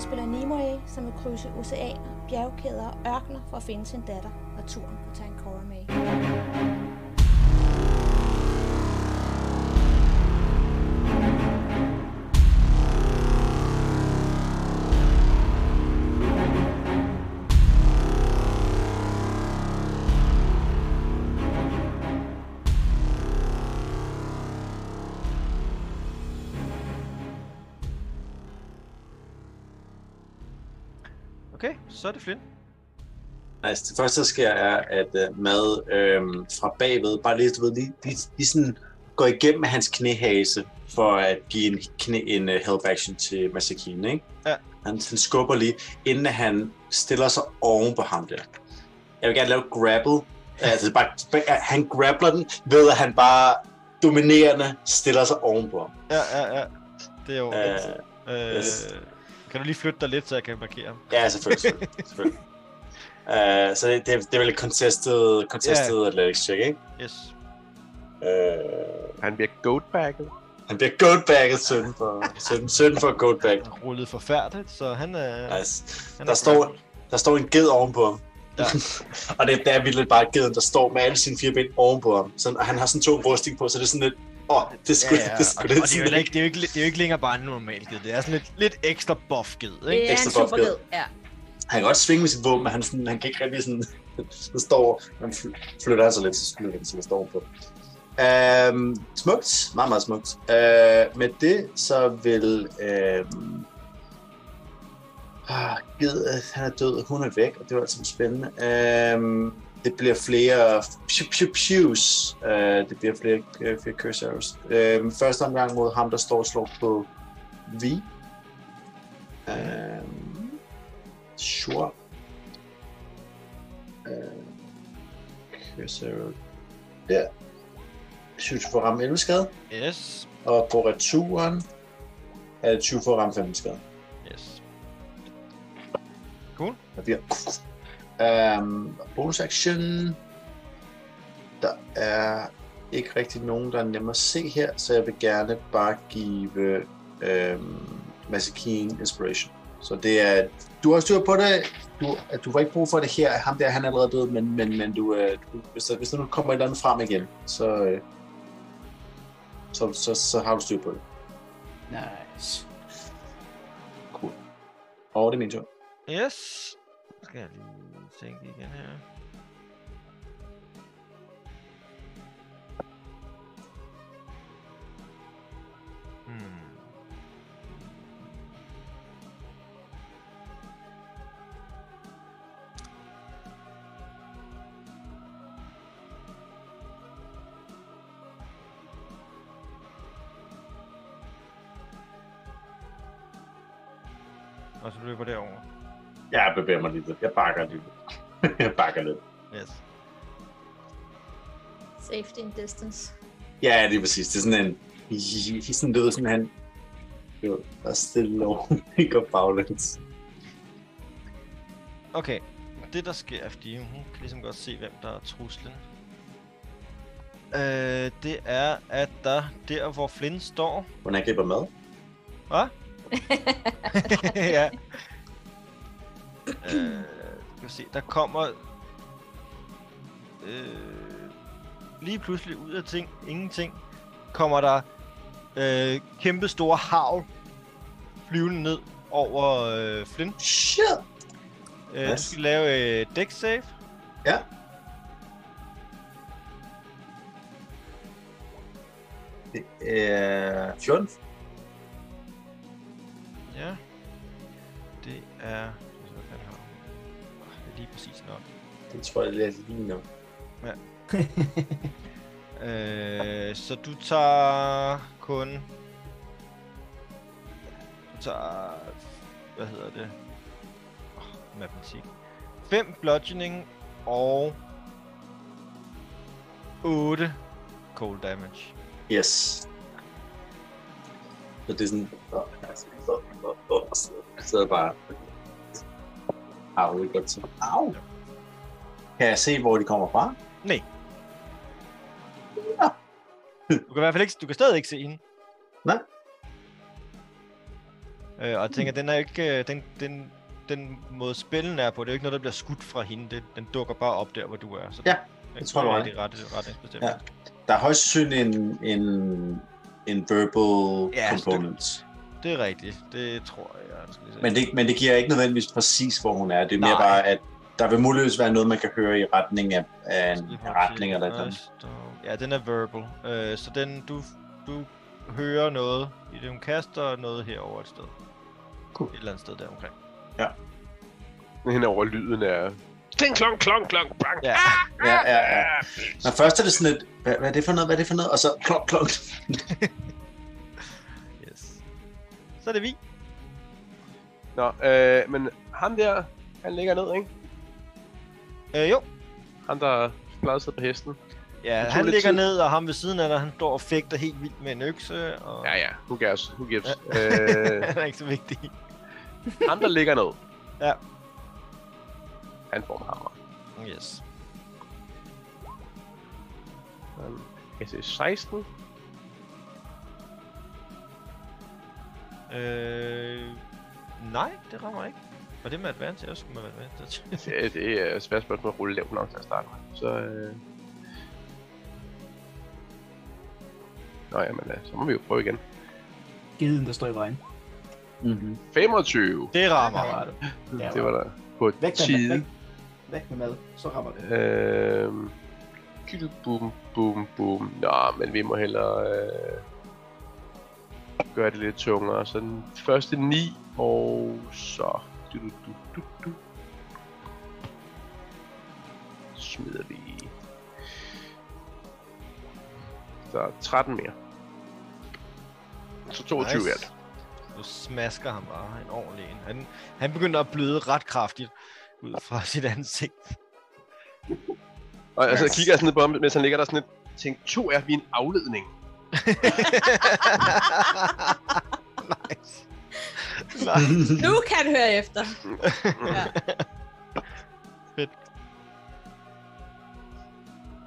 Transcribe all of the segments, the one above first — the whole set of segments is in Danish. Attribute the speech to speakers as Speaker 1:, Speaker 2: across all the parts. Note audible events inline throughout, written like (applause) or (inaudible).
Speaker 1: spiller Nimoy, som vil krydse oceaner, bjergkæder og ørkener for at finde sin datter og turen på Tankora med.
Speaker 2: Okay, så er det Flynn.
Speaker 3: Altså, det første, der sker, er, at øh, Mad øh, fra bagved, bare lige, du ved, lige, lige, lige sådan går igennem hans knæhase, for at give en, knæ, en uh, help action til Masakine, ikke?
Speaker 2: Ja.
Speaker 3: Han, han skubber lige, inden han stiller sig oven på ham der. Jeg vil gerne lave grapple. Altså, bare, bare- han grappler den, ved at han bare dominerende stiller sig ovenpå ham.
Speaker 2: Ja, ja, ja. Det er jo...
Speaker 3: Øh,
Speaker 2: Øh,
Speaker 3: yes.
Speaker 2: Kan du lige flytte dig lidt, så jeg kan markere ham?
Speaker 3: ja, selvfølgelig. selvfølgelig,
Speaker 2: (laughs)
Speaker 3: selvfølgelig. Uh, så det, det, det er vel et contested, contested yeah. athletics check, ikke?
Speaker 2: Yes.
Speaker 3: Øh,
Speaker 4: Han bliver goatbagget.
Speaker 3: han bliver goatbagget 17 for, 17, 17 for goatbag.
Speaker 2: Han rullede forfærdeligt, så han er...
Speaker 3: Nice.
Speaker 2: han
Speaker 3: Altså, Der
Speaker 2: er
Speaker 3: står, der står en ged ovenpå ham.
Speaker 2: Ja.
Speaker 3: Ja. og det, der er vildt lidt bare geden, der står med alle sine fire ben ovenpå ham. Sådan, og han har sådan to rusting på, så det er sådan lidt... Åh, oh, det er sgu
Speaker 2: Ja, ja,
Speaker 3: det er sgu
Speaker 2: og, og
Speaker 3: lidt
Speaker 2: det, er jo
Speaker 3: sådan
Speaker 2: heller ikke, det, er jo ikke, det er jo ikke længere bare en normal ged. Det er sådan lidt, lidt ekstra buff ged, ikke?
Speaker 1: Det er en
Speaker 3: Ekstra
Speaker 1: super
Speaker 3: buff ged.
Speaker 1: fed. Ja.
Speaker 3: Han kan godt svinge med sit våben, men han, sådan, han kan ikke rigtig sådan... (laughs) så står, han fly- flytter han sig lidt, så skyder han sig, står på. Øhm, smukt. Meget, meget smukt. Øh, med det, så vil... Øhm, ah, ged, øh, han er død, hun er væk, og det var altså spændende. Øhm, det bliver flere pju, pju, pjus. Øh, det bliver flere, øh, flere curse arrows. Øhm, første omgang mod ham, der står og slår på V. Øhm, Sure. Øh, så der. Synes du får ramme 11 skade,
Speaker 2: Yes.
Speaker 3: og på returen er det 20 for at ramme 15 skade.
Speaker 2: Yes.
Speaker 3: Der bliver... Øhm, bonus action. Der er ikke rigtig nogen, der er nemme at se her, så jeg vil gerne bare give øhm, Masakine Inspiration. Så det er, du har styr på det, du, at du var ikke brug for det her, ham der han er allerede død, men, men, men du, øh, du, hvis, der, hvis der nu kommer et eller andet frem igen, så, øh, så, så, så har du styr på det.
Speaker 5: Nice.
Speaker 3: Cool. Og det er min tur.
Speaker 2: Yes. Nu skal jeg lige tænke igen her. Hmm. Og så løber derover.
Speaker 3: Jeg bevæger mig lidt. Jeg bakker lidt. jeg bakker lidt. (laughs)
Speaker 2: Yes.
Speaker 1: Safety and distance.
Speaker 3: Ja, lige præcis. Det er sådan en... i- i- Sådan lyder sådan han... Jo, der er stille og roligt går baglæns.
Speaker 2: Okay, det der sker er, fordi hun kan ligesom godt se, hvem der er truslen. Øh, det er, at der, der hvor Flynn står...
Speaker 3: Hun angriber mad.
Speaker 2: Hvad? ja. Øh, skal vi se, der kommer... Øh, lige pludselig ud af ting, ingenting, kommer der øh, kæmpe store havl flyvende ned over øh, Flynn.
Speaker 3: Shit!
Speaker 2: Øh, du
Speaker 3: Nice.
Speaker 2: skal lave øh, deck save.
Speaker 3: Ja. Det er... 14.
Speaker 2: Ja. Det er... Hvad fanden har hun? Ah, Det er lige præcis nok.
Speaker 3: Det tror jeg, det er lige nu.
Speaker 2: Øh, så du tager kun... Du tager... Hvad hedder det? Oh, matematik. 5 bludgeoning og 8 cold damage.
Speaker 3: Yes. Så det er sådan... Åh, altså, åh, åh, åh, Så så er det bare... Au, det er godt til. Au! Kan jeg se, hvor de kommer fra?
Speaker 2: Du kan i hvert fald ikke, du kan stadig ikke se hende. Øh, og jeg tænker, den er ikke... øh, Den, den, den måde spillen er på, det er jo ikke noget, der bliver skudt fra hende. Det, den dukker bare op der, hvor du er. Så
Speaker 3: Ja,
Speaker 2: det,
Speaker 3: tror jeg, du har
Speaker 2: det er ret, ret bestemt.
Speaker 3: Ja. Der er højst sandsynligt en, en, en verbal
Speaker 2: Ja, altså,
Speaker 3: ja, component.
Speaker 2: Det er rigtigt. Det tror jeg. jeg skal lige se.
Speaker 3: Men det, men det giver ikke nødvendigvis præcis, hvor hun er. Det er mere
Speaker 2: Nej.
Speaker 3: bare, at der vil muligvis være noget, man kan høre i retning af, af en
Speaker 2: Lige
Speaker 3: af
Speaker 2: prøve at
Speaker 3: retning
Speaker 2: se.
Speaker 3: eller et eller andet.
Speaker 2: Nice dog. Ja, den er verbal. Øh, så den, du, du hører noget i det, hun kaster, og noget herover et sted.
Speaker 3: Cool.
Speaker 2: Et eller andet sted der omkring.
Speaker 4: Henover lyden er... Ting klong klong klong bang.
Speaker 2: Ja.
Speaker 3: Ja, ja, ja. Når først er det sådan et, hvad, hvad er det for noget, hvad er det for noget? Og så klok, klok.
Speaker 2: Yes. Så er det vi.
Speaker 4: Nå, øh, men ham der, han ligger ned, ikke?
Speaker 2: Øh, jo.
Speaker 4: Ham, der plejede at sidde på hesten.
Speaker 2: Ja,
Speaker 4: tog
Speaker 2: han
Speaker 4: lidt
Speaker 2: ligger
Speaker 4: tid.
Speaker 2: ned, og ham ved siden af dig, han står og fægter helt vildt med en økse, og
Speaker 4: Ja, ja. Who gives? Who gives?
Speaker 2: Ja.
Speaker 4: øh,
Speaker 2: (laughs) han er ikke så vigtig.
Speaker 4: ham, der ligger ned.
Speaker 2: Ja.
Speaker 4: Han får en hammer.
Speaker 2: Yes.
Speaker 4: Han kan se 16.
Speaker 2: Øh, nej, det rammer ikke. Var det med advantage? Jeg skulle med advantage.
Speaker 4: Ja, det er et svært spørgsmål at rulle lavt nok til at starte med. Så... Øh... Nå ja, men øh, så må vi jo prøve igen.
Speaker 5: Giden, der står i vejen.
Speaker 3: Mm-hmm.
Speaker 4: 25!
Speaker 2: (laughs) det rammer.
Speaker 5: Der var det. Der
Speaker 4: Det
Speaker 5: var
Speaker 4: var
Speaker 5: det.
Speaker 4: der på
Speaker 5: Væk med,
Speaker 4: tide.
Speaker 5: væk, væk med mad, så rammer (laughs) det.
Speaker 4: Øhm... Gyld, boom, boom, boom. Nå, men vi må hellere øh, gøre det lidt tungere. Så den første 9, og så... Du, du, du, du, du. Smider vi... Der er 13 mere. Så 22 nice. er det.
Speaker 2: Du smasker ham bare en ordentlig en. Han, han begynder at bløde ret kraftigt ud fra (laughs) sit ansigt.
Speaker 4: Og altså, jeg
Speaker 3: Yes.
Speaker 4: kigger jeg sådan lidt på ham, mens han ligger der sådan lidt. Tænk, to er vi en afledning.
Speaker 2: nice. Nej,
Speaker 6: Nu kan han høre efter. Ja.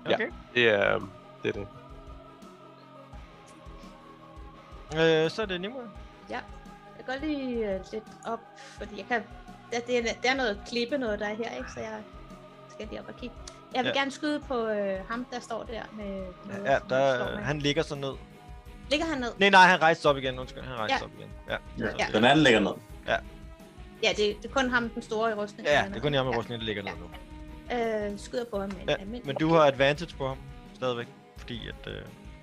Speaker 2: okay.
Speaker 4: Det er... Det er det.
Speaker 2: Ja. Øh, så er det Nimue.
Speaker 6: Jeg går lige øh, lidt op, fordi jeg kan... Der, det, er, der er noget klippe noget, der er her, ikke? Så jeg skal lige op og kigge. Jeg vil
Speaker 2: Ja.
Speaker 6: ja. gerne skyde på øh, ham, der står der med... med
Speaker 2: Ja,
Speaker 6: som står
Speaker 2: der,
Speaker 6: med.
Speaker 2: han ligger så ned.
Speaker 6: Ligger han ned?
Speaker 2: Nej, nej, han rejste sig op igen. Undskyld, han rejste
Speaker 6: Ja.
Speaker 2: sig op igen. Ja,
Speaker 3: Ja.
Speaker 2: så
Speaker 6: Ja.
Speaker 3: Den anden ligger ned.
Speaker 6: Ja, det, det er kun ham, den store i rustning.
Speaker 2: ja,
Speaker 6: der
Speaker 2: det er
Speaker 6: ned.
Speaker 2: kun ham med rustningen, der ligger ned nu.
Speaker 6: Øh, skyder på ham med en
Speaker 2: Ja,
Speaker 6: almindelig...
Speaker 2: Men du har advantage på ham stadigvæk, fordi at, øh,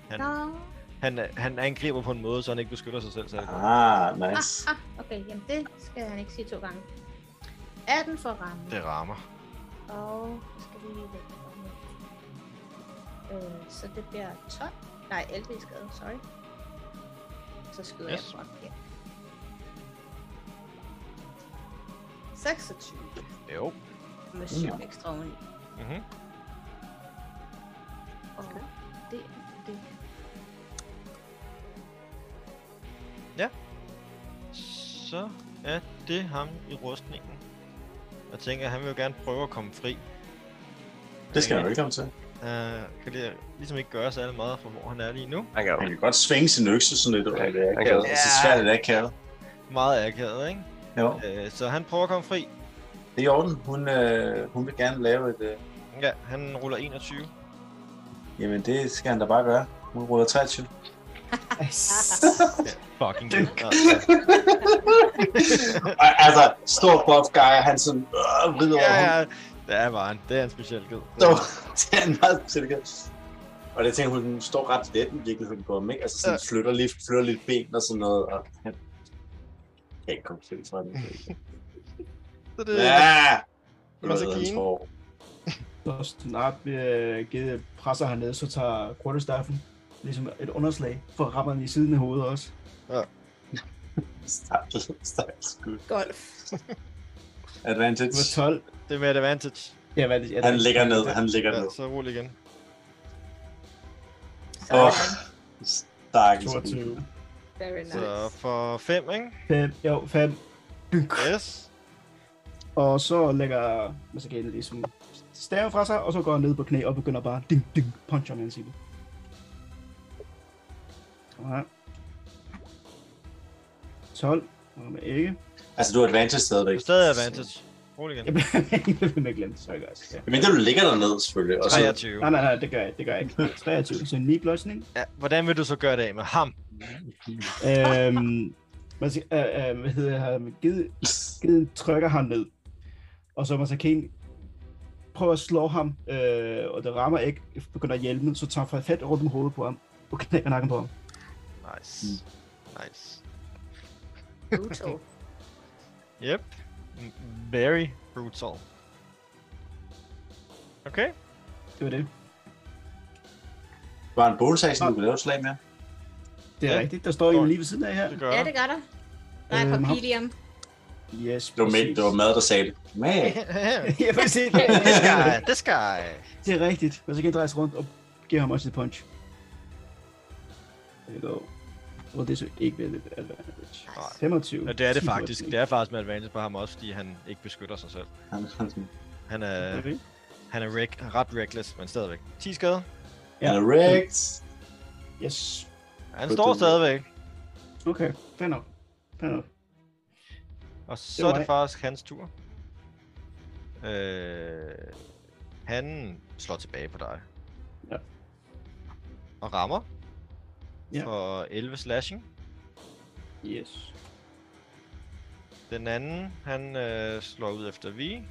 Speaker 2: han,
Speaker 6: Nå.
Speaker 2: han, er- han angriber på en måde, så han ikke beskytter sig selv særlig godt.
Speaker 3: Ah,
Speaker 6: Ah,
Speaker 3: nice.
Speaker 6: ah, okay, jamen det skal han ikke sige to gange. 18 for ramme.
Speaker 2: Det rammer.
Speaker 6: Og jeg skal lige væk fra den. øh, Så det bliver 12. Nej, 11 i skade, sorry. Så skyder yes.
Speaker 2: Yes.
Speaker 6: jeg på ham igen. 26
Speaker 2: Jo.
Speaker 6: med 7
Speaker 2: Mm.
Speaker 3: Nå.
Speaker 6: ekstra oveni.
Speaker 2: Mm-hmm.
Speaker 6: Og det er det.
Speaker 2: Så er det ham i rustningen. Jeg tænker, at han vil jo gerne prøve at komme fri.
Speaker 3: Det skal han jo ikke komme til.
Speaker 2: Uh, kan det ligesom ikke gøre særlig meget for, hvor han er lige nu.
Speaker 4: Han kan jo
Speaker 3: Han kan godt svinge sin økse sådan lidt.
Speaker 4: Ja,
Speaker 3: Ja, det er
Speaker 4: han
Speaker 3: akavet. Det
Speaker 4: kan.
Speaker 3: er så svært, det er akavet.
Speaker 2: Meget akavet, ikke?
Speaker 3: Jo,
Speaker 2: Uh, så han prøver at komme fri.
Speaker 3: det er i orden. Hun, øh, hun vil gerne lave et... Øh,
Speaker 2: Ja, han ruller 21.
Speaker 3: jamen, det skal han da bare gøre. Hun ruller 23.
Speaker 2: Fucking good. Ja,
Speaker 3: Ej, altså, stor buff guy, han sådan øh, vrider over
Speaker 2: ja,
Speaker 3: (laughs) ja,
Speaker 2: ja. Det er bare en, det er en speciel ged.
Speaker 3: Så det er en meget speciel gæld. Og det tænker hun, hun står ret let i virkeligheden på ham, ikke? Altså sådan flytter lige, flytter lidt ben og sådan noget, og han kan ikke komme fri fra den.
Speaker 2: Så det,
Speaker 3: Ja!
Speaker 2: Men så
Speaker 3: Hvad
Speaker 2: kine.
Speaker 3: hans hår.
Speaker 5: Så snart øh, givet presser hernede, så tager Grøttestaffen ligesom et underslag, for at rammer den i siden af hovedet også.
Speaker 3: Stakkels, stakkels gud.
Speaker 6: Golf.
Speaker 5: Det var
Speaker 3: Advantage.
Speaker 5: 12.
Speaker 2: det er med et advantage.
Speaker 5: Ja, hvad er det? Ja, det-
Speaker 3: Han ligger ned, han ligger
Speaker 2: Ja,
Speaker 3: ned.
Speaker 2: så rul igen.
Speaker 3: Åh, oh, stakkels gud.
Speaker 5: 22.
Speaker 6: Very nice.
Speaker 2: Så for 5, ikke?
Speaker 5: 5. Jo, 5.
Speaker 2: Yes.
Speaker 5: Og så lægger Masakane ligesom staven fra sig, og så går han ned på knæ og begynder bare ding, ding, puncher med ansigtet. Okay. 12. Det rammer ikke.
Speaker 3: Altså, du har advantage
Speaker 2: Der
Speaker 3: stadigvæk.
Speaker 2: er stadig advantage. Rolig igen.
Speaker 5: (laughs) Jeg bliver jeg bliver med glemt, sorry guys. Ja.
Speaker 3: Men det du ligger dernede, selvfølgelig. Og så,
Speaker 2: 23.
Speaker 5: Nej, nej, nej, det gør jeg, det gør jeg ikke. 23, så en 9 blødsning.
Speaker 2: Ja, hvordan vil du så gøre det af med ham?
Speaker 5: Øhm, (laughs) man siger, øh, øh, hvad hedder jeg, har givet, givet trykker ham ned. Og så man så kan prøve at slå ham, øh, og det rammer ikke, begynder at hjælpe, så tager jeg fat rundt om hovedet på ham, og knækker nakken på ham.
Speaker 2: Nice.
Speaker 3: Mm.
Speaker 2: Nice. (laughs)
Speaker 6: Brutal.
Speaker 2: Yep. M- Very brutal. Okay.
Speaker 5: Det var det.
Speaker 3: var en bonusaction, du kan lave et slag med.
Speaker 5: Det er
Speaker 2: Ja.
Speaker 5: ja. rigtigt, der står jo lige ved siden af her.
Speaker 2: Det gør
Speaker 6: ja,
Speaker 2: jeg.
Speaker 6: det gør der. Nej,
Speaker 5: Øhm, hop.
Speaker 6: papilium.
Speaker 5: Yes,
Speaker 3: Det var, med, det var
Speaker 5: (laughs)
Speaker 3: mad, der sagde det. Mad.
Speaker 2: (laughs)
Speaker 5: Jeg vil se det.
Speaker 3: (laughs)
Speaker 2: this guy, this guy.
Speaker 5: Det er rigtigt. Og så kan jeg dreje sig rundt og give ham også et punch. There you go. Og det er så ikke ved det advantage.
Speaker 2: Nej.
Speaker 5: 25.
Speaker 2: Ja, det er det
Speaker 5: 10
Speaker 2: faktisk.
Speaker 5: blot.
Speaker 2: Det er faktisk med advantage på ham også, fordi han ikke beskytter sig selv.
Speaker 3: Han, han,
Speaker 2: Han er, øh,
Speaker 5: Okay.
Speaker 2: han er rec- ret reckless, men stadigvæk. 10 skade.
Speaker 3: han er wrecked.
Speaker 5: Yes.
Speaker 2: Han
Speaker 3: På
Speaker 2: står
Speaker 3: den-
Speaker 2: stadigvæk.
Speaker 5: Okay, fair nok. Fair nok.
Speaker 2: Og så
Speaker 5: Det
Speaker 2: det
Speaker 5: er
Speaker 2: er det
Speaker 5: mig.
Speaker 2: faktisk hans tur. Øh, han slår tilbage på dig.
Speaker 5: Ja.
Speaker 2: Og rammer.
Speaker 5: Ja.
Speaker 2: For 11 slashing.
Speaker 5: Yes.
Speaker 2: Den anden, han øh, slår ud efter vi. Det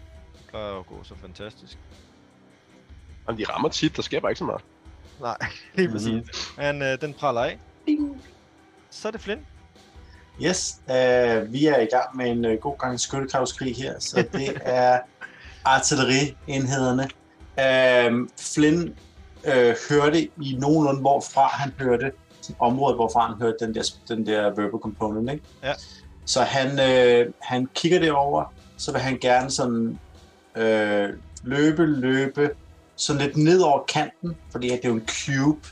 Speaker 2: plejer jo at gå så fantastisk.
Speaker 4: Jamen, de rammer tit, der sker bare ikke så meget.
Speaker 2: Nej, lige præcis. Han, øh, den praller af. Så er det Flynn.
Speaker 3: Yes, øh, vi er i gang med en øh, god gang skyttegravskrig her, så det er artillerienhederne. Øh, Flynn øh, hørte i nogenlunde, hvorfra han hørte området, hvorfra han hørte den der, den der verbal component. Ikke?
Speaker 2: Ja.
Speaker 3: Så han, øh, han kigger det over, så vil han gerne sådan øh, løbe, løbe, sådan lidt ned over kanten, fordi det er jo en cube,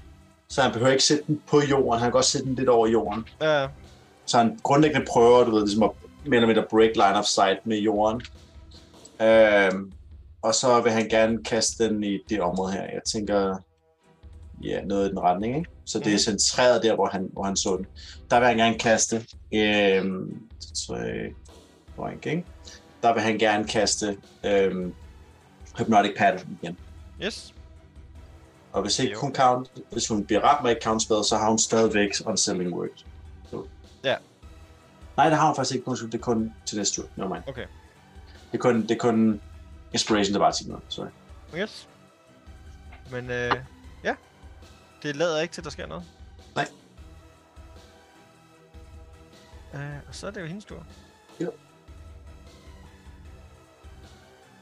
Speaker 3: så han behøver ikke sætte den på jorden, han kan godt sætte den lidt over jorden.
Speaker 2: Ja,
Speaker 3: Så han grundlæggende prøver, du ved, ligesom at mere eller mindre break line of sight med jorden. Øhm, og så vil han gerne kaste den i det område her. Jeg tænker, ja, noget i den retning, ikke? Så det er
Speaker 2: Mhm.
Speaker 3: centreret der, hvor han, hvor han så den. Der vil han gerne kaste, øhm, så, øh, boink, ikke? Der vil han gerne kaste øhm, Hypnotic Pattern igen.
Speaker 2: yes.
Speaker 3: Og hvis ikke
Speaker 2: Jo.
Speaker 3: hun count, hvis hun bliver ramt med ikke count spell, så har hun stadigvæk Unsettling Word. Så.
Speaker 2: Ja.
Speaker 3: Nej, det har hun faktisk ikke. Undskyld, det er kun til næste tur. No, mind.
Speaker 2: Okay.
Speaker 3: Det er kun, det er kun Inspiration, der bare til noget. Sorry.
Speaker 2: Oh, Yes. Men øh, ja, det lader ikke til, at der sker noget.
Speaker 3: Nej.
Speaker 2: Øh, og så er det jo hendes tur.
Speaker 3: Jo.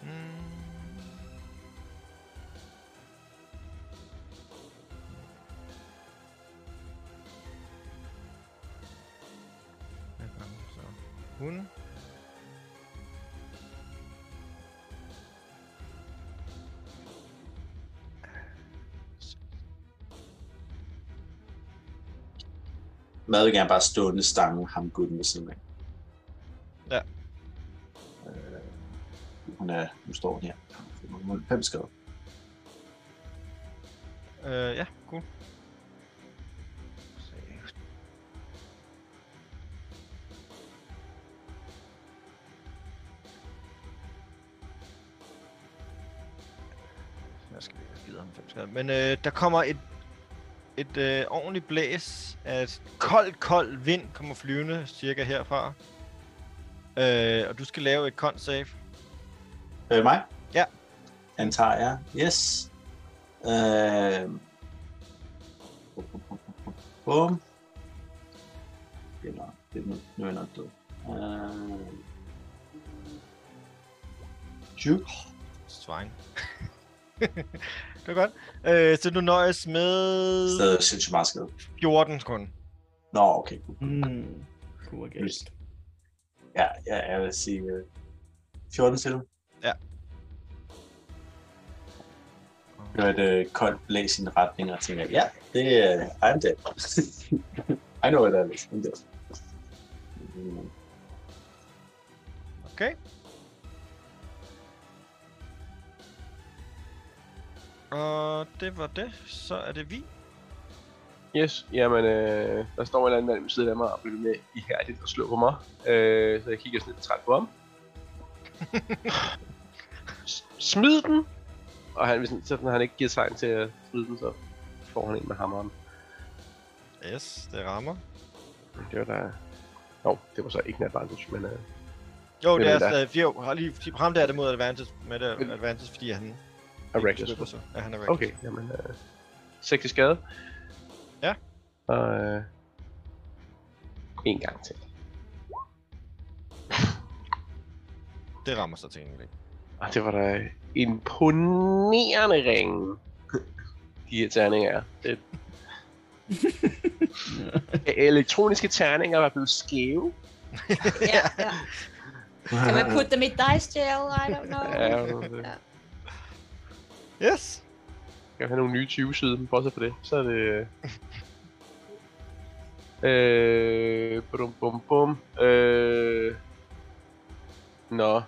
Speaker 2: Mm. Hvad gør hun så? Hun
Speaker 3: Mad vil gerne bare stående stange ham gutten ved siden af.
Speaker 2: Ja.
Speaker 3: Øh, hun er, nu står hun her. Hun er fem skade.
Speaker 2: Øh, ja, cool. Jeg skal ikke skide ham fem skade. Men øh, der kommer et, et øh, ordentligt blæs af et kold, kold vind kommer flyvende cirka herfra. Øh, og du skal lave et con save.
Speaker 3: Øh, mig?
Speaker 2: Ja.
Speaker 3: Antager jeg. Yes. Øh... Bum, bum, bum, bum, Bum. Det er nok- det er nu, nu er jeg nok død. Øh... 20.
Speaker 2: Swine. (laughs) det var godt. Øh, så du nøjes med
Speaker 3: Stadig sindssygt meget skade.
Speaker 2: 14 kun.
Speaker 3: Nå, okay.
Speaker 5: Mm. Cool, okay.
Speaker 3: Lyst. Ja, ja, jeg vil sige... øh, 14 til du.
Speaker 2: Ja.
Speaker 3: Det var et øh, koldt blæs i en retning, og tænker, ja, det er... I'm dead. (laughs) I know what that is. I'm dead. Mm.
Speaker 2: Okay. Og det var det. Så er det vi.
Speaker 4: Yes, jamen, øh, der står en eller anden mand ved siden af mig og bliver med ihærdigt og slår på mig. Øh, så jeg kigger sådan lidt træt på ham. S- Smid den! Og han, hvis han- så når han ikke giver tegn til at smide den, så får han en med hammeren.
Speaker 2: Yes, det rammer.
Speaker 4: Det var da... Jo, det var så ikke en advantage, men... Øh,
Speaker 2: Jo,
Speaker 4: Det
Speaker 2: det
Speaker 4: er
Speaker 2: er
Speaker 4: den der.
Speaker 2: stadig fire. Har lige ham der er det mod advantage, med det
Speaker 4: Men-
Speaker 2: advantage, fordi han...
Speaker 4: er
Speaker 2: ikke
Speaker 4: reckless.
Speaker 2: beskytter sig. Ja, han er reckless.
Speaker 4: Okay, jamen... Øh, 6 i skade.
Speaker 2: Ja.
Speaker 4: Og... Øh, en gang til.
Speaker 2: Det rammer sig til egentlig.
Speaker 4: Og Ah, det var da imponerende ringe. De her terninger. Det... Elektroniske terninger var blevet skæve.
Speaker 6: Ja, ja. Kan man putte dem i dice jail? I don't know.
Speaker 4: Ja, øh,
Speaker 2: Yes!
Speaker 4: kan have nogle nye 20 siden, bortset fra det. Så er det... øh, Øh... Bum bum bum. Øh... Nå.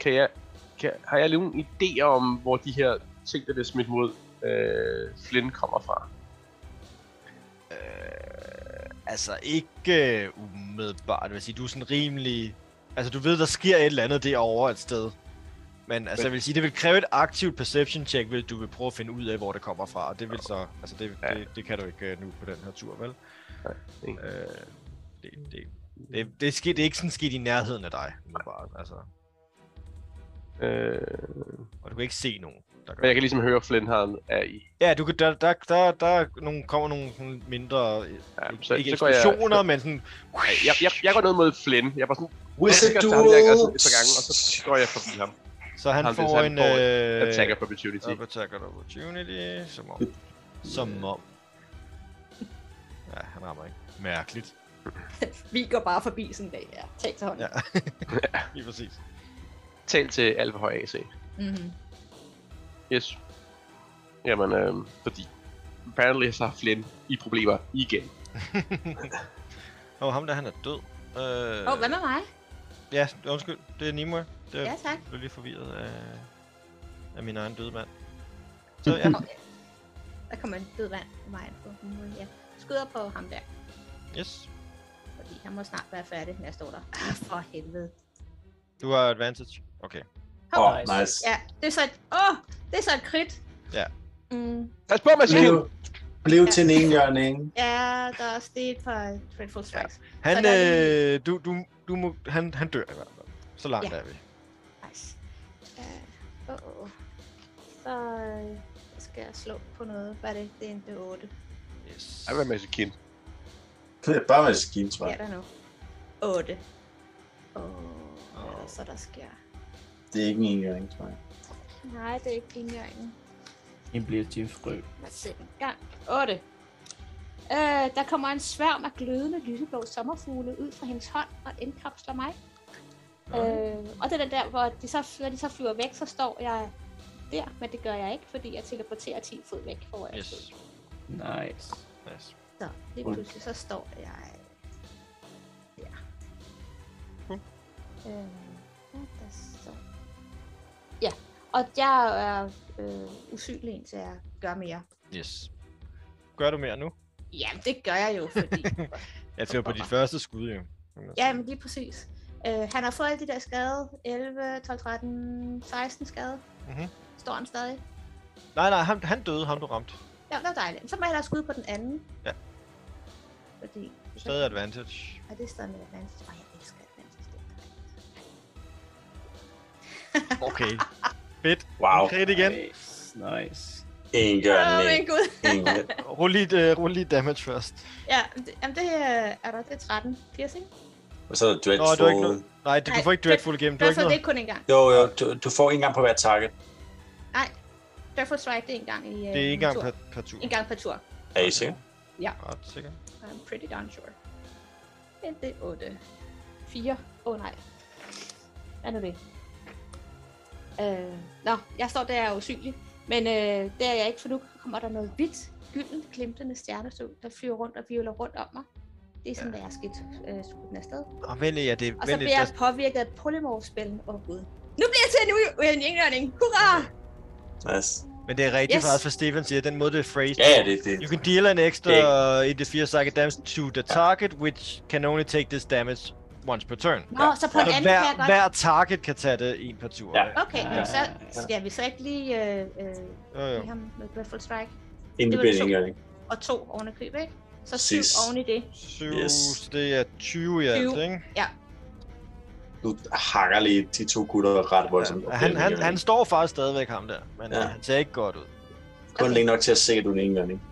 Speaker 4: Kan jeg... Kan, har jeg nogen idé om, hvor de her ting, der bliver smidt mod øh, Flynn kommer fra?
Speaker 2: Altså, ikke øh, umiddelbart. Jeg vil sige, du er sådan rimelig... Altså, du ved, der sker et eller andet derovre et sted. Men altså,
Speaker 4: Men-
Speaker 2: jeg vil sige, det vil kræve et aktivt perception check, hvis du vil prøve at finde ud af, hvor det kommer fra. Og det vil så... Altså, det,
Speaker 4: Ja.
Speaker 2: det, det kan du ikke øh, nu på den her tur, vel?
Speaker 4: Nej, ikke.
Speaker 2: Øh, det, det, det, det, er sket, det er ikke sådan sket i nærheden af dig, umiddelbart. Altså,
Speaker 4: Øh,
Speaker 2: og du kan ikke se nogen, der gør
Speaker 4: men jeg kan ligesom høre, at Flynn har en, er i.
Speaker 2: Ja, du kan, der, der, der, der er nogle, kommer nogle sådan mindre, øh,
Speaker 4: Ja,
Speaker 2: så,
Speaker 4: så,
Speaker 2: ikke
Speaker 4: så går jeg,
Speaker 2: eksplosioner, men sådan...
Speaker 4: Nej, jeg, jeg, jeg går ned mod Flynn. Jeg var sådan,
Speaker 3: Wizard
Speaker 4: jeg til ham,
Speaker 3: Duel!
Speaker 4: jeg gør sådan et par gange, og så går jeg forbi ham.
Speaker 2: Så han,
Speaker 4: Jamen, det er
Speaker 2: får
Speaker 4: sådan,
Speaker 2: en...
Speaker 4: han får
Speaker 2: øh,
Speaker 4: Attack of opportunity.
Speaker 2: Up attack and opportunity, som om. Som om. Ja, han rammer ikke. Mærkeligt.
Speaker 6: Vi går bare forbi sådan der. Ja, tag til hånden.
Speaker 2: Ja. Lige præcis.
Speaker 4: Tal til alt for høj AC.
Speaker 6: Mm-hmm.
Speaker 4: Yes. Jamen, øh, fordi... Apparently så har Flynn i problemer igen.
Speaker 2: Og ham der, han er død. Øh,
Speaker 6: Åh, oh, hvad med mig?
Speaker 2: Ja, undskyld. Det er Nimue. Det er,
Speaker 6: Ja, tak.
Speaker 2: Jeg blev lige forvirret af, af min egen døde mand. Så ja,
Speaker 6: Der kommer en død vand på mig. På hovedet, ja. Skyder på ham der,
Speaker 2: yes.
Speaker 6: fordi han må snart være færdig, når jeg står der. Ah, for helvede.
Speaker 2: Du har advantage. Okay.
Speaker 3: Åh, oh, nice.
Speaker 6: Ja, det er så et, åh, det er så et krit.
Speaker 2: Ja.
Speaker 6: Mm,
Speaker 4: Pas på, maskinen!
Speaker 3: Blev, blev til en enhjørning. ikke?
Speaker 6: ja, der er også det er et par dreadful strikes. Ja.
Speaker 2: Han,
Speaker 6: Så der er
Speaker 2: øh, du, du, du må, han, han dør i hvert fald. Så langt
Speaker 6: Ja.
Speaker 2: er vi.
Speaker 6: Nice. Uh, oh, oh. Så øh, skal jeg slå på noget. Hvad er det? Det er en D8.
Speaker 2: Yes.
Speaker 4: Jeg vil maskinen.
Speaker 3: Det er bare med skin, tror
Speaker 6: Hvad er
Speaker 3: jeg.
Speaker 6: der nu? 8. Åh, hvad er der så, der sker?
Speaker 3: Det er ikke en enhjørning, tror jeg.
Speaker 6: Nej, det er ikke indgangen.
Speaker 5: En bliver til en frø.
Speaker 6: Lad os se en gang. 8. Øh, der kommer en sværm af glødende lyseblå sommerfugle ud fra hendes hånd og indkapsler mig. Øh, og det er den der, hvor de så, når de så flyver væk, så står jeg der, men det gør jeg ikke, fordi jeg teleporterer 10 fod væk, hvor jeg stod.
Speaker 2: Yes.
Speaker 5: Nice.
Speaker 2: Nice.
Speaker 6: Så lige
Speaker 3: Cool.
Speaker 6: pludselig så står jeg der.
Speaker 2: Cool.
Speaker 6: Øh, hvad der står? Ja, og jeg er øh, usynlig indtil jeg gør mere.
Speaker 2: Yes. Gør du mere nu?
Speaker 6: Jamen, det gør jeg jo, fordi...
Speaker 2: Jeg tænker på dit første skud, jo.
Speaker 6: ja, men lige præcis. Øh, han har fået alle de der skade. 11, 12, 13, 16 skade.
Speaker 2: Mhm.
Speaker 6: Står han stadig.
Speaker 2: Nej, nej, han, han døde, ham du ramte.
Speaker 6: Ja, det var dejligt. Så må jeg hellere skyde på den anden.
Speaker 2: Ja.
Speaker 6: Fordi...
Speaker 2: Stadig advantage.
Speaker 6: Er det stadig med advantage? Ej, jeg elsker advantage. Det er dejligt. (laughs)
Speaker 2: Okay.
Speaker 3: Wow.
Speaker 2: Okay, det igen.
Speaker 5: Nice. nice.
Speaker 6: Åh,
Speaker 3: Enhjørning.
Speaker 6: min gud.
Speaker 3: Enhjørning.
Speaker 2: Rul lige, uh, rul lige damage først.
Speaker 6: Ja, men det, jamen det øh, er der. Det er 13 piercing.
Speaker 3: Og så er det
Speaker 2: Nå, du er ikke
Speaker 3: dreadful.
Speaker 2: noget. Nej, du, du
Speaker 6: Nej,
Speaker 2: får ikke
Speaker 6: det-
Speaker 2: dreadful igennem. Du er
Speaker 6: Dreadful,
Speaker 2: ikke
Speaker 6: det
Speaker 2: noget.
Speaker 6: er kun en gang.
Speaker 3: Jo, jo, du, du får en gang på hver target.
Speaker 6: Nej, Dreadful Strike, det er en gang i
Speaker 2: Det
Speaker 6: øh,
Speaker 2: er ikke
Speaker 6: en
Speaker 2: engang
Speaker 6: tur.
Speaker 2: per, per tur.
Speaker 6: En gang per tur.
Speaker 3: Er I sikker?
Speaker 2: Ret sikker.
Speaker 6: I'm pretty darn sure. Men det er 8. 4. Åh oh, nej. Hvad nu det? Øh, nå, jeg står der og er usynlig. Men øh, det er jeg ikke, for nu kommer der noget hvidt, gyldent, glimtende stjernestøv, der flyver rundt og vivler rundt om mig. Det er sådan, hvad jeg er skidt øh, skudt den afsted.
Speaker 2: Og vent lige, ja, det
Speaker 6: Og så
Speaker 2: vent lige,
Speaker 6: bliver
Speaker 2: der,
Speaker 6: jeg påvirket af polymorphspillen. Åh oh, gud. Nu bliver jeg til en u- en indgjørning. Hurra!
Speaker 3: Nice.
Speaker 2: Men det er rigtigt,
Speaker 6: Yes.
Speaker 2: yes. for Stefan siger, den måde det er phrased.
Speaker 3: Ja, ja, det er det.
Speaker 2: You can deal an extra in the fear psychic damage to the target, which can only take this damage once per turn.
Speaker 6: Nå, så på en
Speaker 2: Så
Speaker 6: anden kan jeg
Speaker 2: hver,
Speaker 6: godt...
Speaker 2: hver target kan tage det en per tur.
Speaker 3: Ja.
Speaker 6: Okay, men så skal vi så ikke lige øh, øh,
Speaker 2: Jo,
Speaker 6: give
Speaker 2: jo.
Speaker 6: ham med Breathful Strike.
Speaker 3: Indbinding,
Speaker 6: det var
Speaker 3: gør det ikke?
Speaker 6: Og to oven i køb, ikke? Så syv
Speaker 3: Præcis.
Speaker 6: oven i det.
Speaker 2: Syv,
Speaker 3: Yes.
Speaker 2: så det er 20 i alt,
Speaker 6: 20.
Speaker 2: ikke?
Speaker 3: Du hakker lige de to gutter ret voldsomt.
Speaker 2: Ja, han, han, han står faktisk stadigvæk ham der, men
Speaker 3: Ja.
Speaker 2: ja. han ser ikke godt ud.
Speaker 3: Kun længe nok til at se, at du er en indgørning.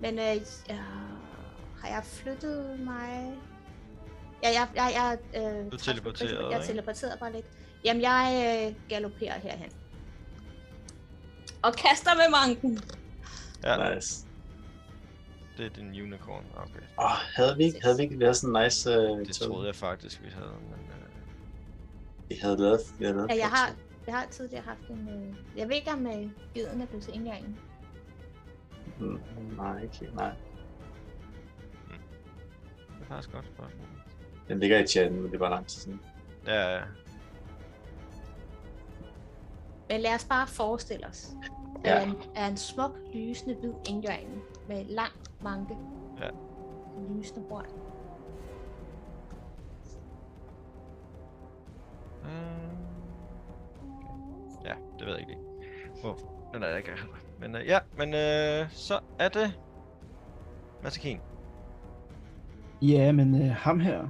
Speaker 6: Men øh, øh, har jeg flyttet mig? Ja, jeg, jeg, jeg, øh,
Speaker 2: Du teleporterede,
Speaker 6: Jeg,
Speaker 2: ikke?
Speaker 6: jeg teleporterede bare lidt. Jamen, jeg øh, galopperer herhen. Og kaster med manken.
Speaker 2: Ja,
Speaker 3: Nice.
Speaker 2: det er din unicorn. Okay,
Speaker 3: Åh, havde vi ikke, havde vi ikke lavet sådan en nice... Uh,
Speaker 2: det troede jeg faktisk, vi havde. Men, øh,
Speaker 3: Vi havde lavet... Vi havde lavet
Speaker 6: Ja, jeg har, jeg har tidligere haft en... Øh, jeg ved ikke, om øh, geden er blevet til indgangen.
Speaker 3: Mm, nej, ikke nej.
Speaker 2: det er faktisk et godt spørgsmål.
Speaker 3: Den ligger i chatten, men det var lang tid siden.
Speaker 2: Ja, ja.
Speaker 6: Men lad os bare forestille os,
Speaker 3: Ja.
Speaker 6: ja. at, en, at en smuk, lysende hvid indgøring med lang manke.
Speaker 2: Ja.
Speaker 6: Lysende horn.
Speaker 2: Mm. Okay. Ja, det ved jeg ikke. Hvor den er jeg ikke heller. Men øh, ja, men øh, så er det... Masakin.
Speaker 5: Ja, men øh, ham her,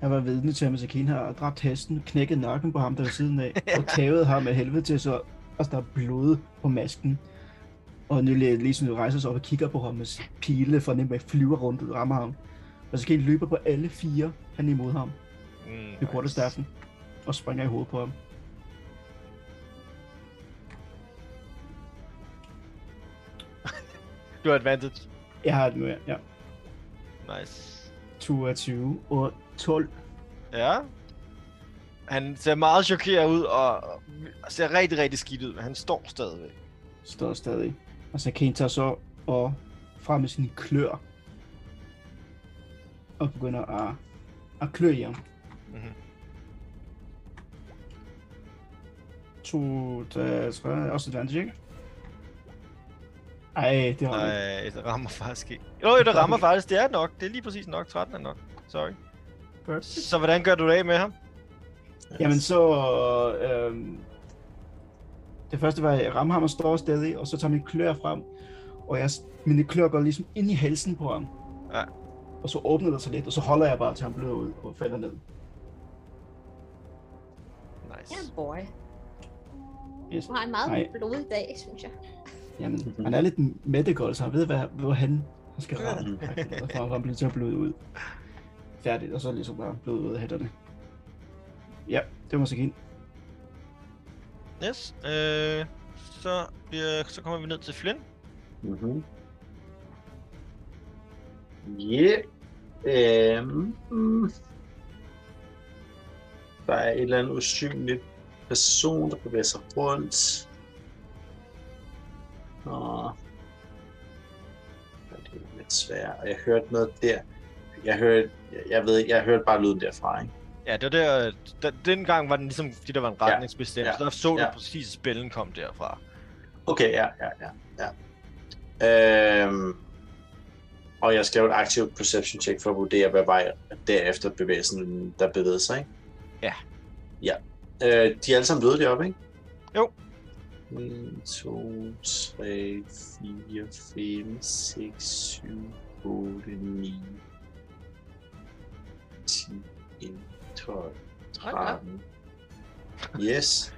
Speaker 5: han var vidne til, at Masakin har dræbt hesten, knækket nakken på ham, der var siden af, og tævet ham af helvede til, så altså, der er blod på masken. Og nu lige, lige sådan, du rejser sig op og kigger på ham med sin pile, for nemlig flyver rundt og rammer ham. Masakin løber på alle fire, han er imod ham
Speaker 2: Mm,
Speaker 5: med quarterstaffen, og springer i hovedet på ham.
Speaker 2: Du har advantage.
Speaker 5: Jeg har det med, ja.
Speaker 2: Nice.
Speaker 5: 22 og 12.
Speaker 2: Ja. Han ser meget chokeret ud, og og ser rigtig, rigtig skidt ud, men han står stadigvæk.
Speaker 5: står stadig. Og så Kane tager så og frem med sine klør og begynder at, at klø i ham.
Speaker 2: Mhm.
Speaker 5: To, tre, tre, også advantage, ikke? Ej, det var
Speaker 2: Nej, det rammer faktisk ikke. Jo, jo, det rammer faktisk. Det er nok. Det er lige præcis nok. 13 er nok. Sorry.
Speaker 5: Perfect.
Speaker 2: Så hvordan gør du det af med ham?
Speaker 5: Jamen så... Øhm, det første var, at jeg rammer ham og står stadig, og så tager mine klør frem, og jeg, mine klør går ligesom ind i halsen på ham.
Speaker 2: Ja.
Speaker 5: Og så åbner der sig lidt, og så holder jeg bare til han bløder ud og falder ned.
Speaker 2: Nice.
Speaker 6: Ja, boy.
Speaker 5: Yes.
Speaker 6: Du har en meget
Speaker 5: Nej.
Speaker 6: blodig dag, synes jeg.
Speaker 5: Jamen, han er lidt mættegold, så han ved, hvad, hvor han han skal ramme. Og så han bliver til at bløde ud. Færdigt, og så ligesom bare bløde ud af hætterne. Ja, det var så fint.
Speaker 2: Yes. Øh, så, bliver, så kommer vi ned til Flynn.
Speaker 3: Mhm. Yeah. Øhm. mm. Der er et eller andet usynligt person, der bevæger sig rundt. Og... Ja, Det er lidt svært. Og jeg hørte noget der. Jeg hørte, jeg, jeg ved, ikke, jeg hørte bare lyden derfra, ikke?
Speaker 2: Ja, det var der, der, dengang var den ligesom, fordi der var en retningsbestemmelse,
Speaker 3: Ja.
Speaker 2: ja. der så du
Speaker 3: Ja.
Speaker 2: præcis, at spillen kom derfra.
Speaker 3: Okay, ja, ja, ja. ja. Øhm, og jeg skal lave et aktivt perception check for at vurdere, hvad vej derefter bevægelsen, der bevæger sig, ikke?
Speaker 2: Ja.
Speaker 3: Ja. Øh, de er alle sammen døde deroppe, ikke?
Speaker 2: Jo.
Speaker 3: 1, 2, 3, 4, 5, 6, 7, 8, 9, 10, 11, 12, 13. Yes.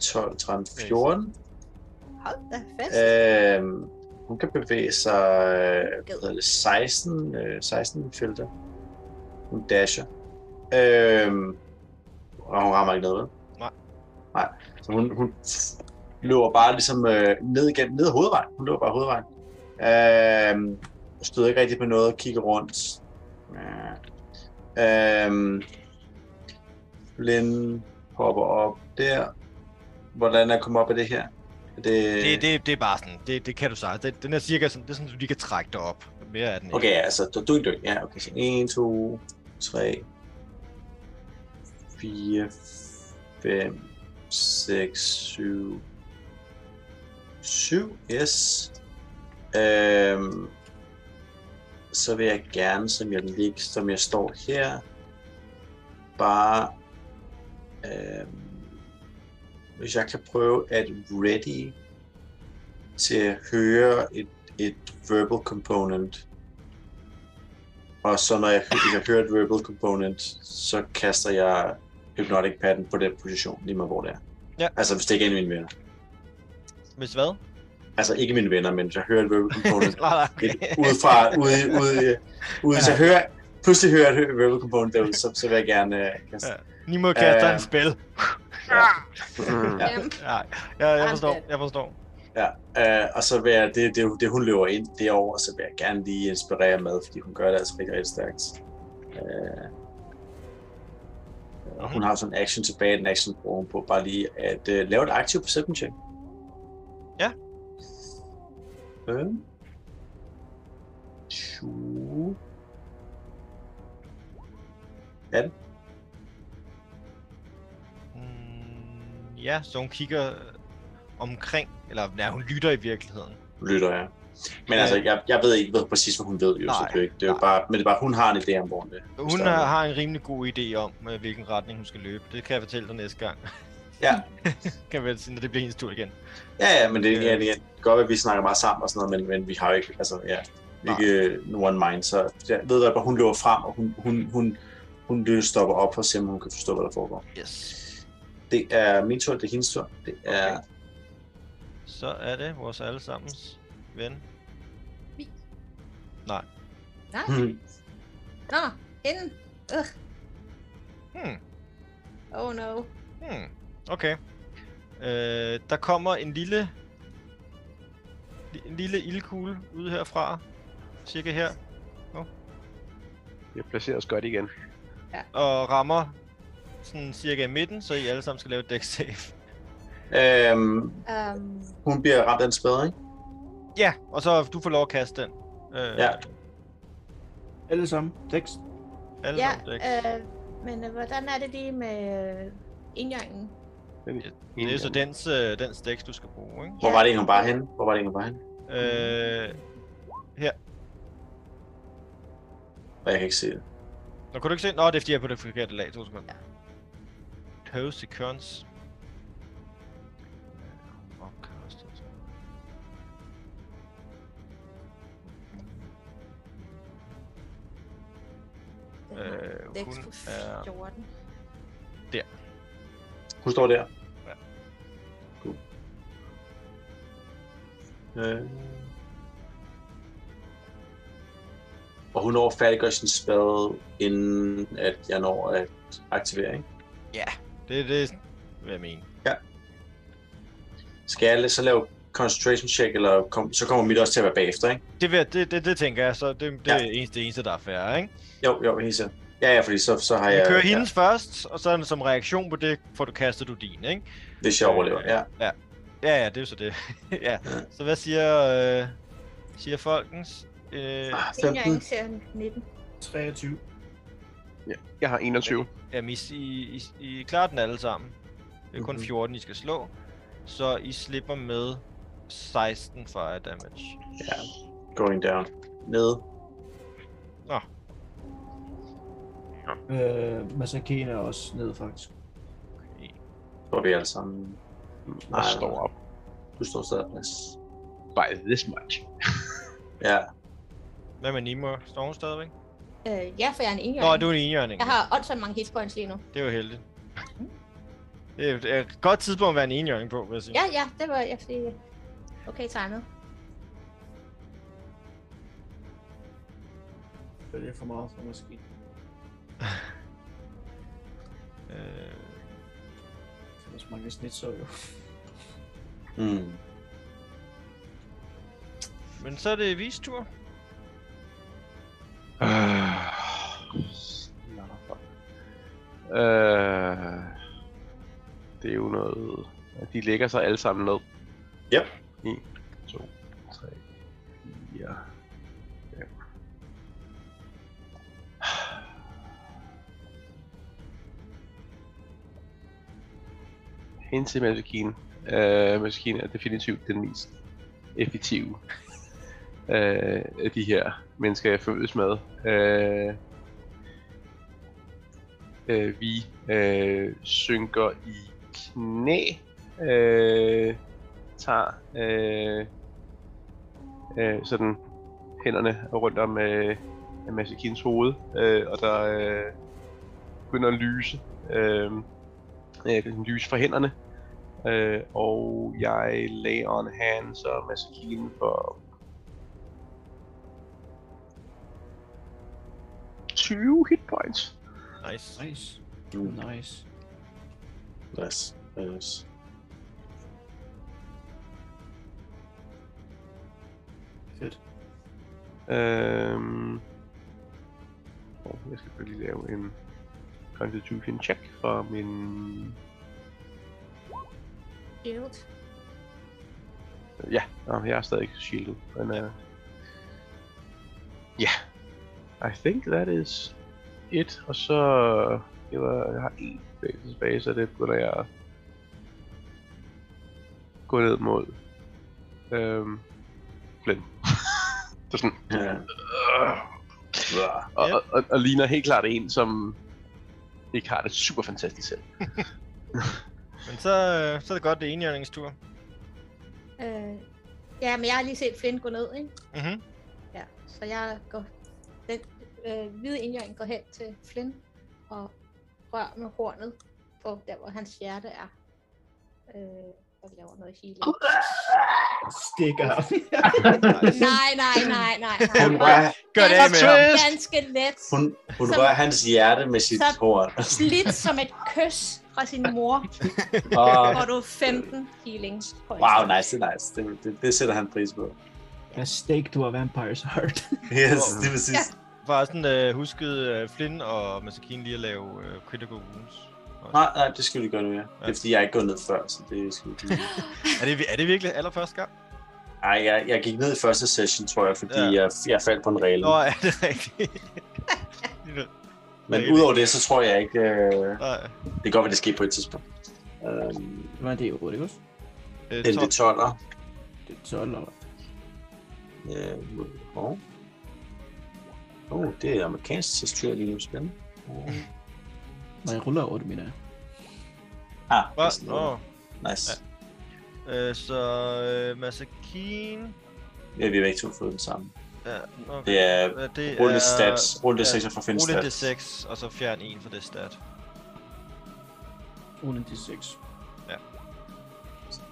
Speaker 3: 12, 13, 14.
Speaker 6: Hold da fast.
Speaker 3: Øhm, hun kan bevæge sig øh, hvad hedder det, 16, øh, 16 felter. Hun dasher. Øhm, og hun rammer ikke noget, vel?
Speaker 2: Nej.
Speaker 3: Nej. Så hun, hun løber bare ligesom øh, ned igennem, ned ad hovedvejen. Hun løber bare hovedvejen. Øhm, stod ikke rigtig på noget, kigger rundt. Ja. Øhm, Blind hopper op der. Hvordan er jeg kommet op af det her? Er det,
Speaker 2: Det, det, det er bare sådan, det, det kan du sige. Det, den er cirka sådan, det er sådan, du lige kan trække dig op. Mere er den ikke.
Speaker 3: Okay, ja, altså, du, du er ikke dygtig. Ja, okay. Så 1, 2, 3, 4, 5, 6, 7. 7, yes. Øhm, så vil jeg gerne, som jeg, lig, som jeg står her, bare... Øhm, hvis jeg kan prøve at ready til at høre et, et verbal component. Og så når jeg, hvis jeg hører et verbal component, så kaster jeg Hypnotic Pattern på den position, lige med hvor det er.
Speaker 2: Ja.
Speaker 3: Altså hvis det ikke er en af mine venner.
Speaker 2: Hvis hvad?
Speaker 3: Altså ikke mine venner, men hvis jeg hører et verbal
Speaker 2: (laughs)
Speaker 3: component,
Speaker 2: Nej, nej,
Speaker 3: et,
Speaker 2: okay.
Speaker 3: ude fra, ude, ude, ude, hvis jeg hører, pludselig hører jeg et verbal component derude, så, så vil jeg gerne øh, kaste.
Speaker 2: Ja. Nimo kaster
Speaker 3: Øh.
Speaker 2: en spil.
Speaker 4: Mm.
Speaker 3: (laughs) Ja.
Speaker 6: Jamen,
Speaker 2: Nej, jeg, jeg
Speaker 6: I'm
Speaker 2: forstår,
Speaker 6: dead.
Speaker 2: jeg forstår.
Speaker 3: Ja, øh, og så vil jeg, det, det, det hun løber ind derovre, så vil jeg gerne lige inspirere med, fordi hun gør det altså rigtig, rigtig stærkt. Øh, og hun har sådan en action tilbage, en action bruger hun på bare lige at øh, lave et aktivt perception check.
Speaker 2: Ja.
Speaker 3: Øh. 20. 18.
Speaker 2: Mm, ja, så hun kigger omkring, eller nej, hun lytter i virkeligheden.
Speaker 3: lytter jeg. Men altså, jeg, jeg ved ikke ved præcis, hvad hun ved, jo, så
Speaker 2: Nej,
Speaker 3: det er jo ikke, det er jo
Speaker 2: nej.
Speaker 3: bare, men det er bare, hun har en idé om, hvor det er.
Speaker 2: Hun har, har en rimelig god idé om, øh, hvilken retning hun skal løbe. Det kan jeg fortælle dig næste (laughs) gang.
Speaker 3: Ja.
Speaker 2: kan vel sige, når det bliver hendes tur igen.
Speaker 3: Ja, ja, men det, ja, det kan godt være, at vi snakker meget sammen og sådan noget, men, men vi har jo ikke, altså, ja, ikke øh, one mind, så jeg ved da bare, hun løber frem, og hun, hun, hun, hun, hun stopper op for at se, om hun kan forstå, hvad der foregår.
Speaker 2: Yes.
Speaker 3: Det er min tur, det er hendes tur, det er...
Speaker 2: Okay. Så er det vores allesammens ven.
Speaker 6: nej.
Speaker 3: Hmm.
Speaker 6: Nå, hende. Ugh.
Speaker 2: Hmm.
Speaker 6: Oh no.
Speaker 2: Hmm. Okay. Øh, der kommer en lille... En lille ildkugle ud herfra. Cirka her.
Speaker 4: Jeg placerer os godt igen.
Speaker 2: Og rammer sådan cirka i midten, så I alle sammen skal lave et deck save. (laughs)
Speaker 3: Øhm,
Speaker 6: Um,
Speaker 3: hun bliver ramt af en spade, ikke?
Speaker 2: Ja, og så du får lov at kaste den. Øh,
Speaker 3: Ja.
Speaker 5: Alle sammen. Tekst.
Speaker 2: Alle
Speaker 6: ja,
Speaker 2: ja, deck.
Speaker 6: øh, men øh, hvordan er det lige med øh, indjøringen?
Speaker 2: det er så dens, øh, dens dex, du skal bruge, ikke?
Speaker 3: Hvor var det, egentlig, hun bare henne? Hvor var det, egentlig, hun var henne?
Speaker 2: Øh,
Speaker 3: Og jeg kan ikke se det.
Speaker 2: Nå, kunne du ikke se? Nå, det er fordi, jeg er på det forkerte lag. To sekunder. Ja. Toast seconds. Opcast, altså.
Speaker 6: Den har
Speaker 2: Øh,
Speaker 6: Dex
Speaker 2: hun
Speaker 6: på
Speaker 2: er...
Speaker 6: 14.
Speaker 3: Hun står der.
Speaker 2: Ja.
Speaker 3: Cool. Øh. Og hun når at færdiggøre sin spade, inden at jeg når at aktivere, ikke?
Speaker 2: Det er det, hvad jeg mener.
Speaker 3: Skal jeg så lave concentration check, eller kom, så kommer mit også til at være bagefter, ikke?
Speaker 2: Det, vil jeg- det, det, det tænker jeg, så det, det
Speaker 3: Ja.
Speaker 2: er eneste, det eneste, der er færre, ikke?
Speaker 3: Jo, jo, helt sikkert. Ja, ja, fordi så, så har
Speaker 2: Du
Speaker 3: jeg...
Speaker 2: kører
Speaker 3: ja,
Speaker 2: hendes først, og så som reaktion på det, får du kastet du din, ikke?
Speaker 3: Hvis jeg overlever, ja.
Speaker 2: Ja, ja, det er jo så det. (laughs) ja. Så hvad siger, øh, siger folkens? Øh,
Speaker 3: Ah, 15.
Speaker 6: Indjøringen ser 19.
Speaker 5: 23.
Speaker 4: Jeg har 21.
Speaker 2: Jamen, I, I, I, I klarer den alle sammen. Det er kun
Speaker 3: Mhm.
Speaker 2: 14, I skal slå. Så I slipper med 16 fire damage.
Speaker 3: Ja. Going down. Nede.
Speaker 5: Øh, Masakena er også nede, faktisk.
Speaker 3: Står vi alle sammen.
Speaker 4: Jeg
Speaker 3: nej.
Speaker 4: står op
Speaker 3: Du står stadig plads.
Speaker 4: by this much.
Speaker 3: Ja.
Speaker 2: Hvad med Nemo? Står hun stadigvæk?
Speaker 6: Øh, ja, for jeg er en
Speaker 2: Nå,
Speaker 6: indjøring.
Speaker 2: du er en enhjørning.
Speaker 6: Jeg har åndssvagt mange hitpoints lige nu.
Speaker 2: Det er jo heldigt. (laughs) Det er et- et godt tidspunkt at være en enhjørning på, vil jeg sige.
Speaker 6: Ja, ja, det var jeg fordi... Okay, tegnet.
Speaker 5: Det er for meget for (laughs) måske.
Speaker 2: Øh,
Speaker 5: Ellers mange snit så jo.
Speaker 3: Mm.
Speaker 2: men så er det Vis tur.
Speaker 4: Øh, det er jo noget... De lægger sig alle sammen ned.
Speaker 3: Yep.
Speaker 4: 1, 2, 3, 4, 5. hensigtsmaskinen øh, maskinen er definitivt den mest effektive øh, af de her mennesker, jeg følges med. Øh, øh, vi øh, synker i knæ, øh, tager øh, øh, sådan hænderne rundt om øh, Masikins hoved, øh, og der øh, begynder at lyse. Øh, øh, lys fra hænderne, øh, og jeg lay on hands og Masikine for 20 hitpoints.
Speaker 2: Nice.
Speaker 5: Nice.
Speaker 3: Mm.
Speaker 5: Nice.
Speaker 3: Nice. Nice.
Speaker 5: Fedt.
Speaker 4: Øhm... Og jeg skal bare lige lave en Constitution check fra min...
Speaker 1: Shield.
Speaker 4: Ja, nå, jeg er stadig shieldet, men øh... Ja. I think that is it, og så... Jeg, var, jeg har en bevægelse tilbage, så det begynder jeg at gå ned mod... Øhm... Flynn. det er sådan...
Speaker 3: Ja.
Speaker 4: Øh.
Speaker 3: Blah.
Speaker 4: Og,
Speaker 2: Ja.
Speaker 4: og, og, og ligner helt klart en, som ikke har det super fantastisk selv.
Speaker 2: Men så, øh, så er det godt, det er Mhm. enhjørningens tur.
Speaker 6: Øh, ja, men jeg har lige set Flynn gå ned, ikke?
Speaker 2: Mhm.
Speaker 6: Ja, så jeg går... Den øh, hvide indjøring går hen til Flynn og rører med hornet på der, hvor hans hjerte er. Øh, og laver noget healing.
Speaker 5: Stikker.
Speaker 6: Nej, nej, nej, nej,
Speaker 3: Hun
Speaker 6: nej.
Speaker 3: rører,
Speaker 2: Gør det af med ham.
Speaker 6: Ganske- Ganske let.
Speaker 3: hun, hun
Speaker 6: Som-
Speaker 3: rører hans hjerte med sit
Speaker 6: Som-
Speaker 3: horn. (laughs)
Speaker 6: Lidt som et kys fra sin mor,
Speaker 3: Og,
Speaker 6: får du 15 healing points.
Speaker 3: wow, nice, det er nice. Det, det, det sætter han pris på.
Speaker 5: (laughs) Jeg staked to a vampire's heart.
Speaker 3: Yes, det er præcis.
Speaker 2: Bare sådan øh, huskede øh, Flynn og Masakine lige at lave øh, critical wounds.
Speaker 3: Nej, nej, det skal vi gøre nu, ja. Det er fordi, jeg er ikke gået ned før, så det skal vi ikke.
Speaker 2: Er det, er det virkelig allerførste gang?
Speaker 3: Ej, jeg, jeg gik ned i første session, tror jeg, fordi
Speaker 2: Ja.
Speaker 3: ja. jeg, jeg faldt på en regel.
Speaker 2: Nå, er det rigtigt?
Speaker 3: Men udover det, så tror jeg ikke... Øh,
Speaker 2: Nej,
Speaker 3: det kan godt være, det sker på et tidspunkt. Øhm,
Speaker 5: (laughs) Hvad er det, Rudi? Det er
Speaker 2: øh,
Speaker 3: LD 12'er.
Speaker 5: 12 år.
Speaker 3: Øh, og... Oh, det er amerikansk tekstur lige nu spændende. Åh.
Speaker 2: Mm.
Speaker 5: Når jeg ruller 8, mener jeg.
Speaker 3: Ah, det er
Speaker 2: Hva?
Speaker 3: sådan noget.
Speaker 2: Nå,
Speaker 3: nice.
Speaker 2: øh, så øh, Masakine...
Speaker 3: Ja, vi har begge to fået den samme.
Speaker 2: Ja, okay.
Speaker 3: Det er
Speaker 2: Øh, det
Speaker 3: rulle stats, rulle stats fra Finn
Speaker 2: Rulle det
Speaker 3: stats.
Speaker 2: 6, og så fjern en fra det stat.
Speaker 5: Rulle en D6.